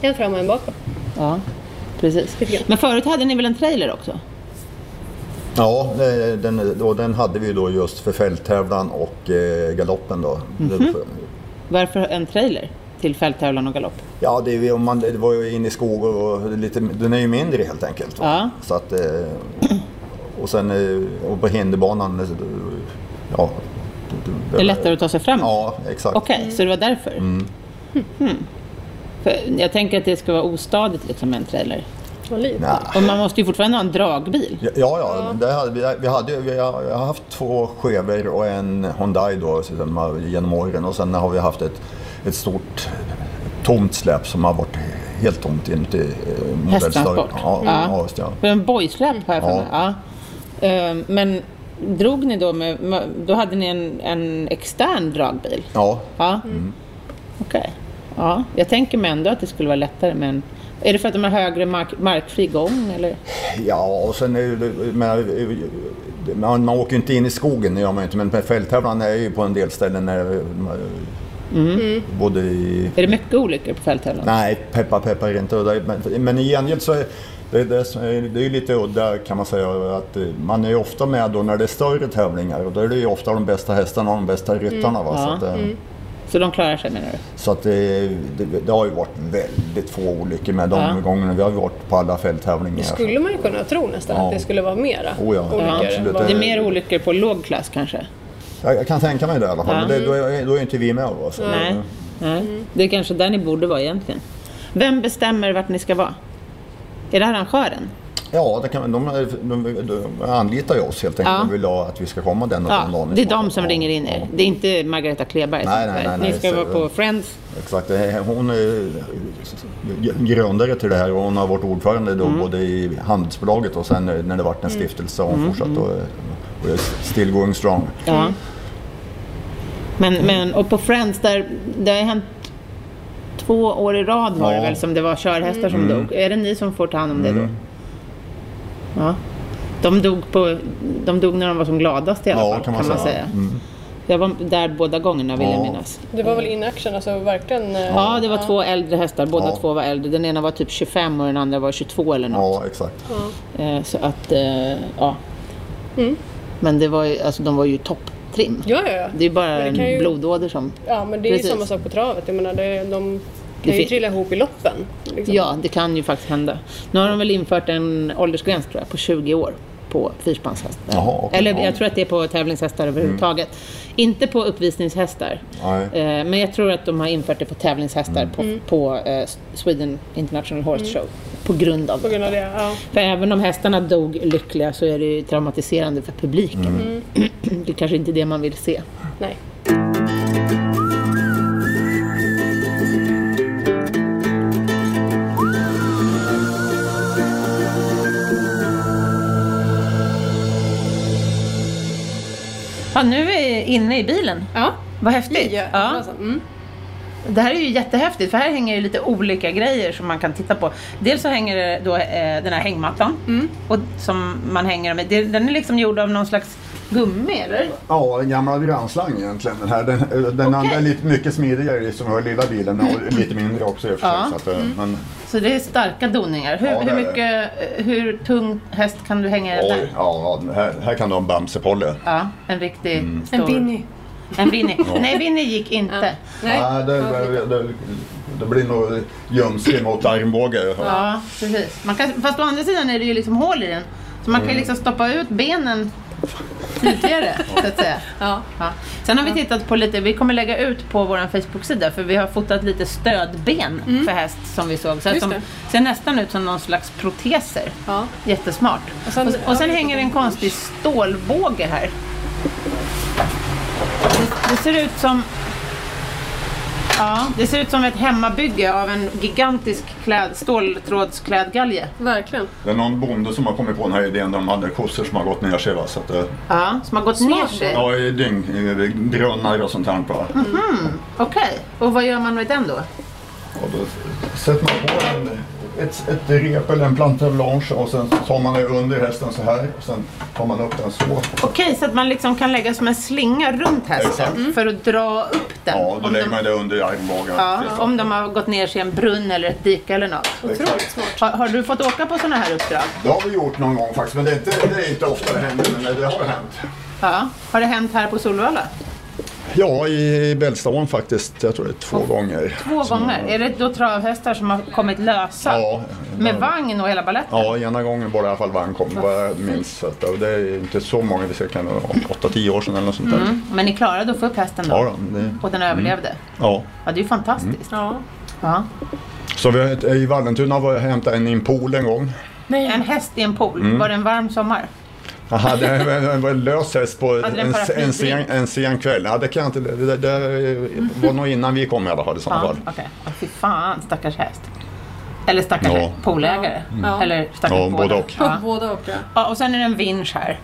Speaker 2: En fram och en bak.
Speaker 1: ja precis.
Speaker 2: Lite grann.
Speaker 1: Men förut hade ni väl en trailer också?
Speaker 3: Ja, eh, den, och den hade vi ju då just för fälttävlan och eh, galoppen. Då.
Speaker 1: Mhm.
Speaker 3: Det-
Speaker 1: Varför en trailer till fälttävlan och galopp?
Speaker 3: Ja, det, är ju- om man, det var ju inne i skog och, och lite, den är ju mindre helt enkelt. va?
Speaker 1: Ja.
Speaker 3: Så att, eh, och sen eh, och på hinderbanan, eh, ja.
Speaker 1: Det är lättare att ta sig fram.
Speaker 3: Ja, exakt.
Speaker 1: Okej, så det var därför?
Speaker 3: Mm.
Speaker 1: Hmm. För jag tänker att det ska vara ostadigt liksom, med en trailer.
Speaker 2: Vad liv.
Speaker 3: Nej.
Speaker 1: Och man måste ju fortfarande ha en dragbil.
Speaker 3: Ja, ja, det hade, vi, vi, hade, ju- vi har jag har haft två Chevroler och en Hyundai då, så de har- genom åren och sen har vi haft ett, ett stort tomt släp som har varit helt tomt inuti eh,
Speaker 1: Hästtransport.
Speaker 3: modellstörre- Ja,
Speaker 1: Ja.
Speaker 3: ja. just det, ja.
Speaker 1: För en boysläp har jag för
Speaker 3: Ja.
Speaker 1: mig. Ja. Ehm, Men drog ni då med... med- Då hade ni en, en extern dragbil?
Speaker 3: ja, Mm.
Speaker 1: Ja. Okej. Ja. Jag tänker mig ändå att det skulle vara lättare med en... Är det för att de har högre mark, markfri gång eller?
Speaker 3: Ja, och sen är det, men, eh, man, man åker ju inte in i skogen, det gör man ju inte. Men på fälttävlan är ju på en del ställen när eh,
Speaker 1: Mm.
Speaker 3: både i...
Speaker 1: Är det mycket olyckor på fälttävlan?
Speaker 3: Nej, peppa peppar inte. Och där- Men, men i gengäld så är det, det, som är- det är ju lite udda kan man säga. Att eh, man är ju ofta med då när det är större tävlingar och då är det ju ofta de bästa hästarna och de bästa ryttarna. Va?
Speaker 1: Mm. Ja. Mm.
Speaker 3: Så, att, eh,
Speaker 1: Så de klarar sig menar du?
Speaker 3: så att det, det, det har ju varit väldigt få olyckor med de
Speaker 1: Ja.
Speaker 3: gångerna. Vi har ju varit på alla fälttävlingar.
Speaker 2: Det skulle man ju kunna tro nästan
Speaker 3: alltså. Ja.
Speaker 2: att det skulle vara mera
Speaker 3: Oh ja,
Speaker 1: Ja,
Speaker 2: olyckor.
Speaker 3: absolut.
Speaker 2: än vad-
Speaker 1: Det är mer olyckor på låg klass kanske?
Speaker 3: Jag, jag kan tänka mig det i alla fall. Men det, då, är, då är inte vi med. Va? Så,
Speaker 1: Nej. Nej. Det är kanske där ni borde vara egentligen. Vem bestämmer vart ni ska vara? Är det arrangören?
Speaker 3: Ja, det kan, de, de, de, anlitar ju oss helt enkelt.
Speaker 1: Ja.
Speaker 3: De vill ha att vi ska komma den och den
Speaker 1: Ja,
Speaker 3: dagen.
Speaker 1: det är de som ringer in er. Det är inte Margareta Kleberg. som
Speaker 3: Nej, nej,
Speaker 1: säger.
Speaker 3: nej, nej,
Speaker 1: ni ska
Speaker 3: så-
Speaker 1: vara på Friends.
Speaker 3: Exakt. det är- eh, Hon är grundare till det här och hon har varit ordförande då
Speaker 1: Mm.
Speaker 3: både i handelsbolaget och sen eh, när det vart en stiftelse har hon fortsatt och, och är still going strong.
Speaker 1: Mm. Ja. Mm. Men,
Speaker 3: Mm.
Speaker 1: men, och på Friends, där, det har hänt två år i rad var det
Speaker 3: Ja. Mm.
Speaker 1: väl som det var körhästar som dog. Är det ni som får ta hand om det då? Ja. De dog, på, de dog när de var som gladast i alla
Speaker 3: Ja,
Speaker 1: fall,
Speaker 3: kan man säga. Mm.
Speaker 1: Jag var där båda gångerna vill jag
Speaker 3: Ja.
Speaker 1: minnas.
Speaker 2: Det var väl in action, alltså verkligen. eh,
Speaker 1: Ja, det var två äldre hästar. Båda
Speaker 3: Ja.
Speaker 1: två var äldre. Den ena var typ 25 och den andra var 22 eller något.
Speaker 3: Ja, exakt.
Speaker 1: Eh, Så att, eh, ja. Men det var ju, alltså, de var ju topptrim.
Speaker 2: Mm. Ja, ja, ja.
Speaker 1: Det är ju bara
Speaker 2: Men det kan
Speaker 1: en
Speaker 2: ju-
Speaker 1: blodåder som...
Speaker 2: Ja, men det är ju
Speaker 1: Precis.
Speaker 2: samma sak på travet. Jag menar, det, de
Speaker 1: Det
Speaker 2: kan ju
Speaker 1: fin-
Speaker 2: trilla ihop i loppen. Liksom.
Speaker 1: Ja, det kan ju faktiskt hända. Nu har de väl infört en åldersgräns tror jag, på 20 år på fyrspanshästar.
Speaker 3: Jaha, okej.
Speaker 1: Eller
Speaker 3: Ja. Mm.
Speaker 1: jag tror att det är på tävlingshästar överhuvudtaget. Inte på uppvisningshästar.
Speaker 3: Nej.
Speaker 1: Eh, Men jag tror att de har infört det på tävlingshästar
Speaker 2: Mm.
Speaker 1: på, på eh, Sweden International Horse Show. På grund av
Speaker 2: På grund av det, ja.
Speaker 1: För även om hästarna dog lyckliga så är det ju traumatiserande för publiken.
Speaker 3: Mm.
Speaker 1: Det är kanske inte är det man vill se.
Speaker 2: Nej.
Speaker 1: Ja, nu är vi inne i bilen.
Speaker 2: Ja.
Speaker 1: Vad häftigt.
Speaker 2: Ja.
Speaker 1: Ja.
Speaker 2: Alltså, mm.
Speaker 1: Det här är ju jättehäftigt för här hänger ju lite olika grejer som man kan titta på. Dels så hänger Mm. det då eh, den här hängmattan och som man hänger med. Det- Den är liksom gjord av någon slags Gummi eller?
Speaker 3: Ja, en gammal grannslang egentligen. Den, här, den, eh, den andra är lite mycket smidigare som har lilla bilen och lite mindre också i och för sig.
Speaker 1: Ja. Mm.
Speaker 3: Så att, eh, men,
Speaker 1: Så det är starka doningar. Hur,
Speaker 3: Ja, det
Speaker 1: hur,
Speaker 3: är det.
Speaker 1: mycket, eh, hur tung häst kan du hänga i den
Speaker 3: oj,
Speaker 1: där?
Speaker 3: ja, ja, här, här kan du ha en Bamsepolle.
Speaker 1: Ja, en riktig
Speaker 3: Mm.
Speaker 1: stor.
Speaker 4: En Winnie.
Speaker 1: En Winnie. Nej, Winnie gick inte.
Speaker 4: Nej.
Speaker 3: Nej, det, det, det, det blir nog gömsel mot armbåge.
Speaker 1: Ja, precis. Man kan, fast å andra sidan är det ju liksom hål i den. Så man kan ju liksom stoppa ut benen tydligare, så att säga.
Speaker 4: Ja.
Speaker 1: Ja. Sen har vi tittat på lite, vi kommer lägga ut på vår Facebook-sida för vi har fotat lite stödben för häst som vi såg. Så att
Speaker 4: Mm. Just
Speaker 1: de
Speaker 4: det.
Speaker 1: ser nästan ut som någon slags proteser.
Speaker 4: Ja.
Speaker 1: Jättesmart. Och
Speaker 4: Och
Speaker 1: sen,
Speaker 4: sen-
Speaker 1: och, sen hänger en konstig stålbåge här. Det, det ser ut som Ja, det ser ut som ett hemmabygge av en gigantisk kläd, ståltrådsklädgalge.
Speaker 4: Verkligen.
Speaker 3: Det är någon bonde som har kommit på den här idén när de hade kossor som har gått ner sig. Va? Så att, eh,
Speaker 1: Ja, som har gått ner
Speaker 4: Smart.
Speaker 1: sig.
Speaker 3: ja, i dyng, i drönare och sånt här. Va?
Speaker 1: Mm. Okej, och vad gör man med den då?
Speaker 3: Och då sätter man på en, ett, ett rep eller en planta blanche och sen tar man det under hästen så här. Och sen tar man upp den så.
Speaker 1: Okej, så att man liksom kan lägga som en slinga runt hästen
Speaker 3: Exakt.
Speaker 1: för att dra upp den.
Speaker 3: Ja, då
Speaker 1: om,
Speaker 3: lägger
Speaker 1: de,
Speaker 3: man det under armbågen.
Speaker 1: ja, om de har gått ner sig i en brunn eller ett dike eller något.
Speaker 4: Otroligt smart.
Speaker 1: Har, har du fått åka på sådana här uppdrag?
Speaker 3: Det har vi gjort någon gång faktiskt, men det är inte, det är inte ofta det händer. Men det har hänt.
Speaker 1: Ja. Har det hänt här på Solvalla?
Speaker 3: Ja, i Bällstaån faktiskt. Jag tror det är två gånger.
Speaker 1: Två gånger? Är det då travhästar som har kommit lösa?
Speaker 3: Ja.
Speaker 1: Med vagn och hela baletten?
Speaker 3: Ja, ena gången var det i alla fall vagn kom, vad jag minns. Så att, och det är inte så många, vi ser kan vara 8-10 år sedan eller något sånt där.
Speaker 1: Men ni klarade att få upp hästen då?
Speaker 3: Ja, då, Mm. det,
Speaker 1: Och den överlevde?
Speaker 3: ja.
Speaker 1: Ja, det är ju fantastiskt.
Speaker 4: Ja.
Speaker 1: Ja.
Speaker 3: Så vi, har- i Vallentuna var jag och hämtade en i en pool en gång.
Speaker 1: En häst i en pool,
Speaker 3: Mm.
Speaker 1: var det en varm sommar?
Speaker 3: Aha, det var- det var en lös häst på
Speaker 1: den
Speaker 3: en,
Speaker 1: paraplyfri?
Speaker 3: en, sen, en sen kväll. Ja, det, kan jag inte, det, det, det var nog innan vi kom i alla fall i sådana
Speaker 1: Ja,
Speaker 3: fall.
Speaker 1: okej. Ja, fy fan, stackars häst. Eller stackars
Speaker 3: Ja.
Speaker 1: poolägare.
Speaker 4: Ja.
Speaker 1: Eller stackars
Speaker 3: Ja, både
Speaker 1: båda.
Speaker 3: och. Mm.
Speaker 1: Ja.
Speaker 4: Båda och ja.
Speaker 1: Ja, och sen är det en vinsch här.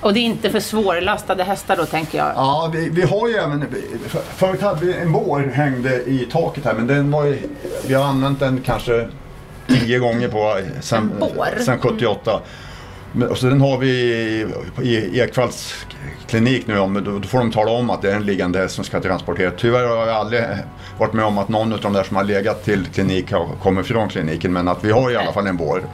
Speaker 1: Och det är inte för svårlastade hästar då, tänker jag.
Speaker 3: Ja, vi, vi har ju även... för- Förut hade vi en vår hängde i taket här, men den var ju, Vi har använt den kanske tio gånger på sen,
Speaker 1: En bår?
Speaker 3: sen 78. Men, och så den har vi i, i Ekvalls klinik nu, om- då, då får de tala om att det är en liggande häst som ska transporteras. Tyvärr har jag aldrig varit med om att någon av de där som har legat till klinik har kommit från kliniken, men att vi har i alla fall en vår.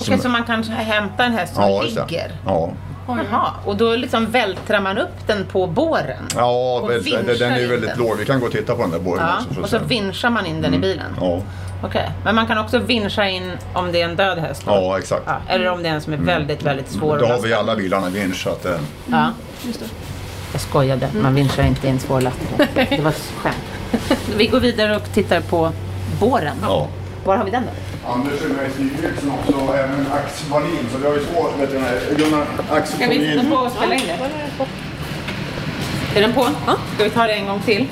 Speaker 1: Okej, så man kan hämta en häst Mm, som
Speaker 3: just det.
Speaker 1: ligger?
Speaker 3: Ja.
Speaker 1: Jaha, och då liksom vältrar man upp den på båren?
Speaker 3: Ja,
Speaker 1: Och
Speaker 3: väl, den- den är ju
Speaker 1: vinschar
Speaker 3: väldigt
Speaker 1: inte.
Speaker 3: låg. Vi kan gå och titta på den där båren
Speaker 1: Ja,
Speaker 3: också. för att
Speaker 1: och så
Speaker 3: se.
Speaker 1: vinschar man in den i bilen?
Speaker 3: Mm. ja.
Speaker 1: Okej, men man kan också vinscha in om det är en död häst? då?
Speaker 3: ja, exakt.
Speaker 1: Ja, eller om det är en som är väldigt, väldigt svår
Speaker 3: Då
Speaker 1: att
Speaker 3: har
Speaker 1: lasta.
Speaker 3: vi alla bilarna vinsch. Så att, eh,
Speaker 1: Ja.
Speaker 4: Just det.
Speaker 1: Jag skojade, man vinschar inte i en svår lastbil. Det var ett skämt. Vi går vidare och tittar på våren.
Speaker 3: ja.
Speaker 1: Var har vi den då?
Speaker 3: Anders är med i styrelsen också och även Ax Wallin. Så vi har ju två veterinärer. Gunnar Axel
Speaker 1: Ska vi sätta på och spela in det? Är den på? Ska vi ta det en gång till?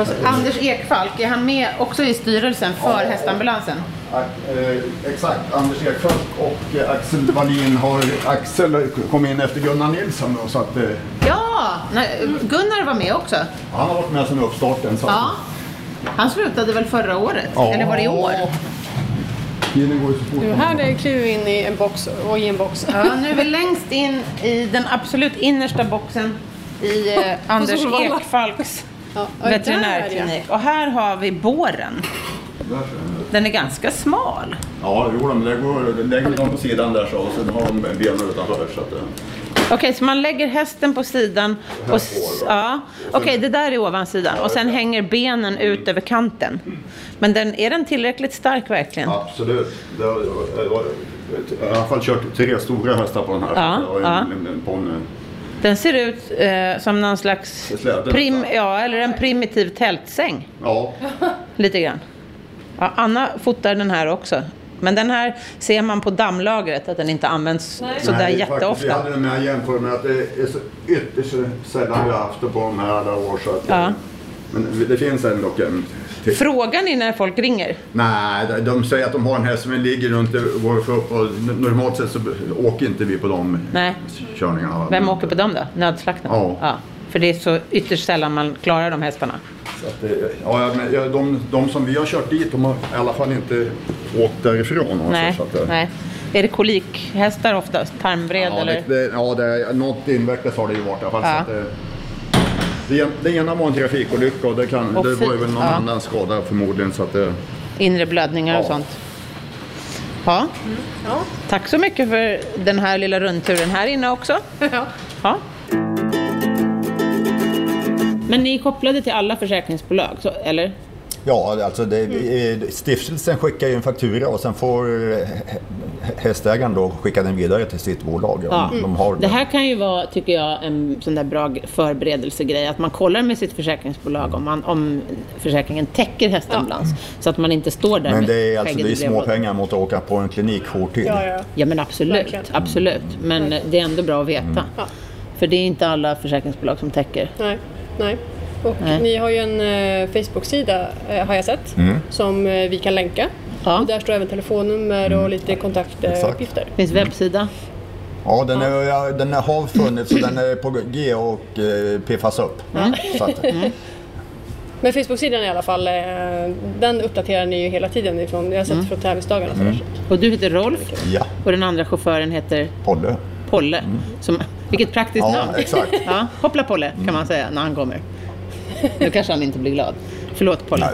Speaker 1: Och så, Anders Ekfalk, är han med också i styrelsen för
Speaker 3: Ja.
Speaker 1: hästambulansen?
Speaker 3: eh, Exakt, Anders Ekfeldt och eh, Axel Wallin har... Axel kom in efter Gunnar Nilsson då, så att eh,
Speaker 1: Ja! Nej, Gunnar var med också.
Speaker 3: han har varit med sedan uppstarten. Så att-
Speaker 1: Ja. Han slutade väl förra året?
Speaker 3: Ja.
Speaker 1: Eller var det i år?
Speaker 3: Tiden går ju så fort.
Speaker 2: Nu här är kliver in i en box och i en box.
Speaker 1: Ja, nu är vi längst in i den absolut innersta boxen i eh, Anders
Speaker 2: Solvalla.
Speaker 1: Ekfalks
Speaker 2: Ja, och där är jag.
Speaker 1: veterinärklinik. Och här har vi båren.
Speaker 3: Där ser den ut.
Speaker 1: Den är ganska smal.
Speaker 3: Ja, jo, de lägger, lägger dem på sidan där så och sen har de benen utanför. Så att, eh,
Speaker 1: Okej, så man lägger hästen på sidan. Och, s- ja. Okej, det där är ovansidan. Och sen hänger benen ut över kanten. Men den, är den tillräckligt stark verkligen?
Speaker 3: Absolut. Det har, jag har i alla fall kört tre stora hästar på den här.
Speaker 1: Ja,
Speaker 3: Jag har en, en, en ponny.
Speaker 1: Den ser ut eh, som någon slags
Speaker 3: Släde.
Speaker 1: prim, ja, eller en primitiv tältsäng.
Speaker 3: Ja.
Speaker 1: Lite grann. Ja, Anna fotar den här också. Men den här ser man på dammlagret att den inte används sådär
Speaker 3: Nej, faktiskt, Vi
Speaker 1: jätteofta.
Speaker 3: hade den med jämfört med att det är så ytterst sällan vi har haft det på de här alla år. Så att,
Speaker 1: Ja.
Speaker 3: Men det finns en dock en till.
Speaker 1: Frågan är när folk ringer.
Speaker 3: Nej, de- de säger att de har en häst som ligger runt vår upp och n- normalt sett så åker inte vi på de
Speaker 1: Nej.
Speaker 3: körningarna.
Speaker 1: Vem åker på dem då? Nödslakten?
Speaker 3: Mm. Ja.
Speaker 1: För det är så ytterst sällan man klarar de hästarna.
Speaker 3: Så att, eh, ja, men ja, de, de som vi har kört dit, de har i alla fall inte åkt därifrån. också,
Speaker 1: Nej.
Speaker 3: så att, eh,
Speaker 1: Nej. Är det kolikhästar oftast? Tarmbred
Speaker 3: Ja,
Speaker 1: eller?
Speaker 3: det, det, ja det, något invärtes har det ju varit i alla fall.
Speaker 1: Ja.
Speaker 3: Så att det, det, det ena var en trafikolycka och det, kan,
Speaker 1: Och
Speaker 3: det var ju
Speaker 1: fy-
Speaker 3: väl någon
Speaker 1: ja.
Speaker 3: annan skada förmodligen. Så att det,
Speaker 1: Inre blödningar och
Speaker 3: Ja. Mm,
Speaker 1: sånt? Ja.
Speaker 2: Ja.
Speaker 1: Tack så mycket för den här lilla rundturen här inne också.
Speaker 2: Ja.
Speaker 1: Ja. Men ni är kopplade till alla försäkringsbolag, så, eller?
Speaker 3: Ja, alltså det,
Speaker 1: Mm.
Speaker 3: eh, stiftelsen skickar ju en faktura och sen får eh, hä- hästägaren då skicka den vidare till sitt bolag. om
Speaker 1: Ja. Mm.
Speaker 3: De har
Speaker 1: Det här kan ju vara, tycker jag, en sån där bra g- förberedelsegrej. Att man kollar med sitt försäkringsbolag om, man, om försäkringen täcker hästambulans. Så att man inte står där
Speaker 3: Men
Speaker 1: med
Speaker 3: det är, alltså,
Speaker 1: skägget
Speaker 3: det är
Speaker 1: i
Speaker 3: små
Speaker 1: brevlådan.
Speaker 3: pengar mot att åka på en klinikjour till.
Speaker 2: Ja, ja.
Speaker 1: Ja men absolut,
Speaker 2: Verkligen.
Speaker 1: absolut. Men det är ändå bra att veta.
Speaker 2: Ja.
Speaker 1: För det är inte alla försäkringsbolag som täcker.
Speaker 2: Nej, nej. Och
Speaker 1: Nej.
Speaker 2: ni har ju en eh, Facebook-sida eh, har jag sett som eh, vi kan länka.
Speaker 1: Ja.
Speaker 2: Och där står även telefonnummer och lite kontaktuppgifter.
Speaker 1: Det finns webbsida.
Speaker 3: Ja, den, är, ja, den har funnits och den är på G och eh, piffas upp. Så att,
Speaker 1: Mm.
Speaker 2: Men Facebook-sidan i alla fall, eh, den uppdaterar ni ju hela tiden. Ifrån, jag har sett
Speaker 1: Mm.
Speaker 2: från tävlingsdagarna. och sådär.
Speaker 1: Och du heter Rolf
Speaker 3: ja,
Speaker 1: och den andra chauffören heter
Speaker 3: Polle.
Speaker 1: Polle. Som, vilket praktiskt
Speaker 3: Mm. Ja,
Speaker 1: namn.
Speaker 3: exakt.
Speaker 1: Ja, hoppla Polle kan man säga när han kommer. Nu kanske han inte blir glad. Förlåt Polle.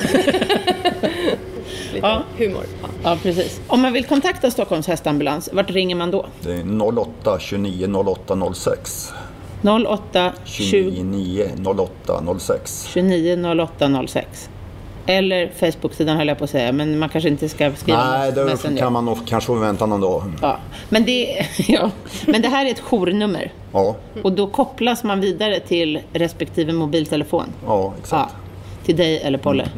Speaker 3: Nej.
Speaker 2: Lite
Speaker 1: Ja.
Speaker 2: humor. Ja.
Speaker 1: Ja, precis. Om man vill kontakta Stockholms hästambulans, vart ringer man då?
Speaker 3: Det är 08 29 08 06.
Speaker 1: 08 20
Speaker 3: 29 08 06.
Speaker 1: 29 08 06. Eller Facebook-sidan höll jag på att säga, men man kanske inte ska skriva
Speaker 3: Nej,
Speaker 1: mess-
Speaker 3: då
Speaker 1: Messenger.
Speaker 3: kan man nog kanske få vänta någon dag.
Speaker 1: Ja. Men, det, ja. men det här är ett journummer
Speaker 3: Ja,
Speaker 1: och då kopplas man vidare till respektive mobiltelefon.
Speaker 3: ja
Speaker 1: Ja.
Speaker 3: exakt. Mm,
Speaker 1: Till dig eller Polle.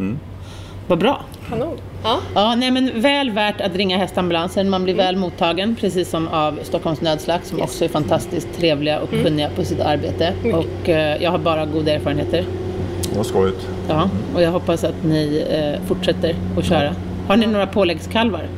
Speaker 1: Vad bra.
Speaker 2: Kanon. Ja.
Speaker 1: Ja, nej, men väl värt att ringa hästambulansen. Man blir väl mottagen, precis som av Stockholms nödslack som också är fantastiskt trevliga och kunniga på sitt arbete. Och eh, jag har bara goda erfarenheter.
Speaker 3: Vad skojigt.
Speaker 1: Ja, och jag hoppas att ni eh, fortsätter att köra. Har ni några påläggskalvar?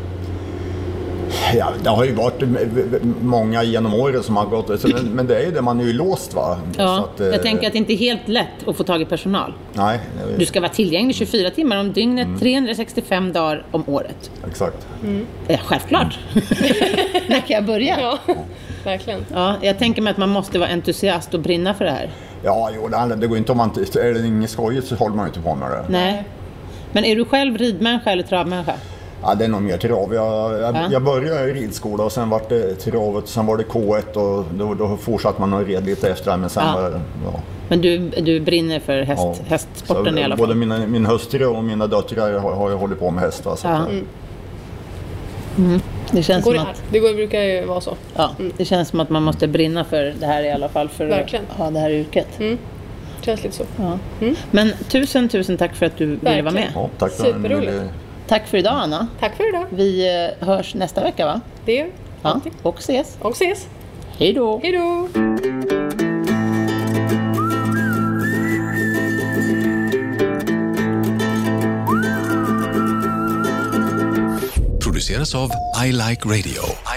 Speaker 3: Ja, det har ju varit m- m- många genom åren som har gått, så- men- men det är ju det, man är ju låst va.
Speaker 1: Ja,
Speaker 3: att, eh,
Speaker 1: jag tänker att det inte är helt lätt att få tag i personal.
Speaker 3: Nej,
Speaker 1: Du ska vara tillgänglig 24 timmar om dygnet,
Speaker 3: Mm.
Speaker 1: 365 dagar om året.
Speaker 3: exakt.
Speaker 1: Ja, självklart. När kan jag börja?
Speaker 2: Ja, verkligen.
Speaker 1: Ja, jag tänker mig att man måste vara entusiast och brinna för det här.
Speaker 3: Ja, jo, det handlar- det går inte om man inte, är det inget skojigt så håller man ju inte på med det.
Speaker 1: Nej. Men är du själv ridmänniska eller travmänniska?
Speaker 3: Ja, det är nog mer trav. Jag, jag,
Speaker 1: Ja.
Speaker 3: jag började i ridskola och sen var det travet, sen var det K1 och då, då fortsatte man och red lite efter det. Men sen
Speaker 1: Ja.
Speaker 3: var det, ja,
Speaker 1: Men du, du brinner för häst,
Speaker 3: ja.
Speaker 1: hästsporten
Speaker 3: så,
Speaker 1: i alla
Speaker 3: Både
Speaker 1: fall?
Speaker 3: mina, min hustru och mina döttrar har, har ju hållit på med häst. Va, så
Speaker 1: Ja.
Speaker 3: att,
Speaker 1: Mm. Det, känns
Speaker 2: Går
Speaker 1: som
Speaker 2: det, här?
Speaker 1: att,
Speaker 2: det går, brukar ju vara så.
Speaker 1: ja, det känns som att man måste brinna för det här i alla fall för
Speaker 2: Verkligen. Mm.
Speaker 1: att ha det här yrket.
Speaker 2: Känns lite så.
Speaker 1: Ja. Men tusen, tusen tack för att du ville vara med.
Speaker 2: Verkligen.
Speaker 3: ja, tack för
Speaker 2: Superroligt.
Speaker 3: det.
Speaker 1: Tack för idag Anna.
Speaker 2: Tack för idag.
Speaker 1: Vi eh, hörs nästa vecka va?
Speaker 2: Det gör vi.
Speaker 1: Ja, och ses.
Speaker 2: Och ses.
Speaker 1: Hej då!
Speaker 2: Hej då!
Speaker 4: produceras av I Like Radio.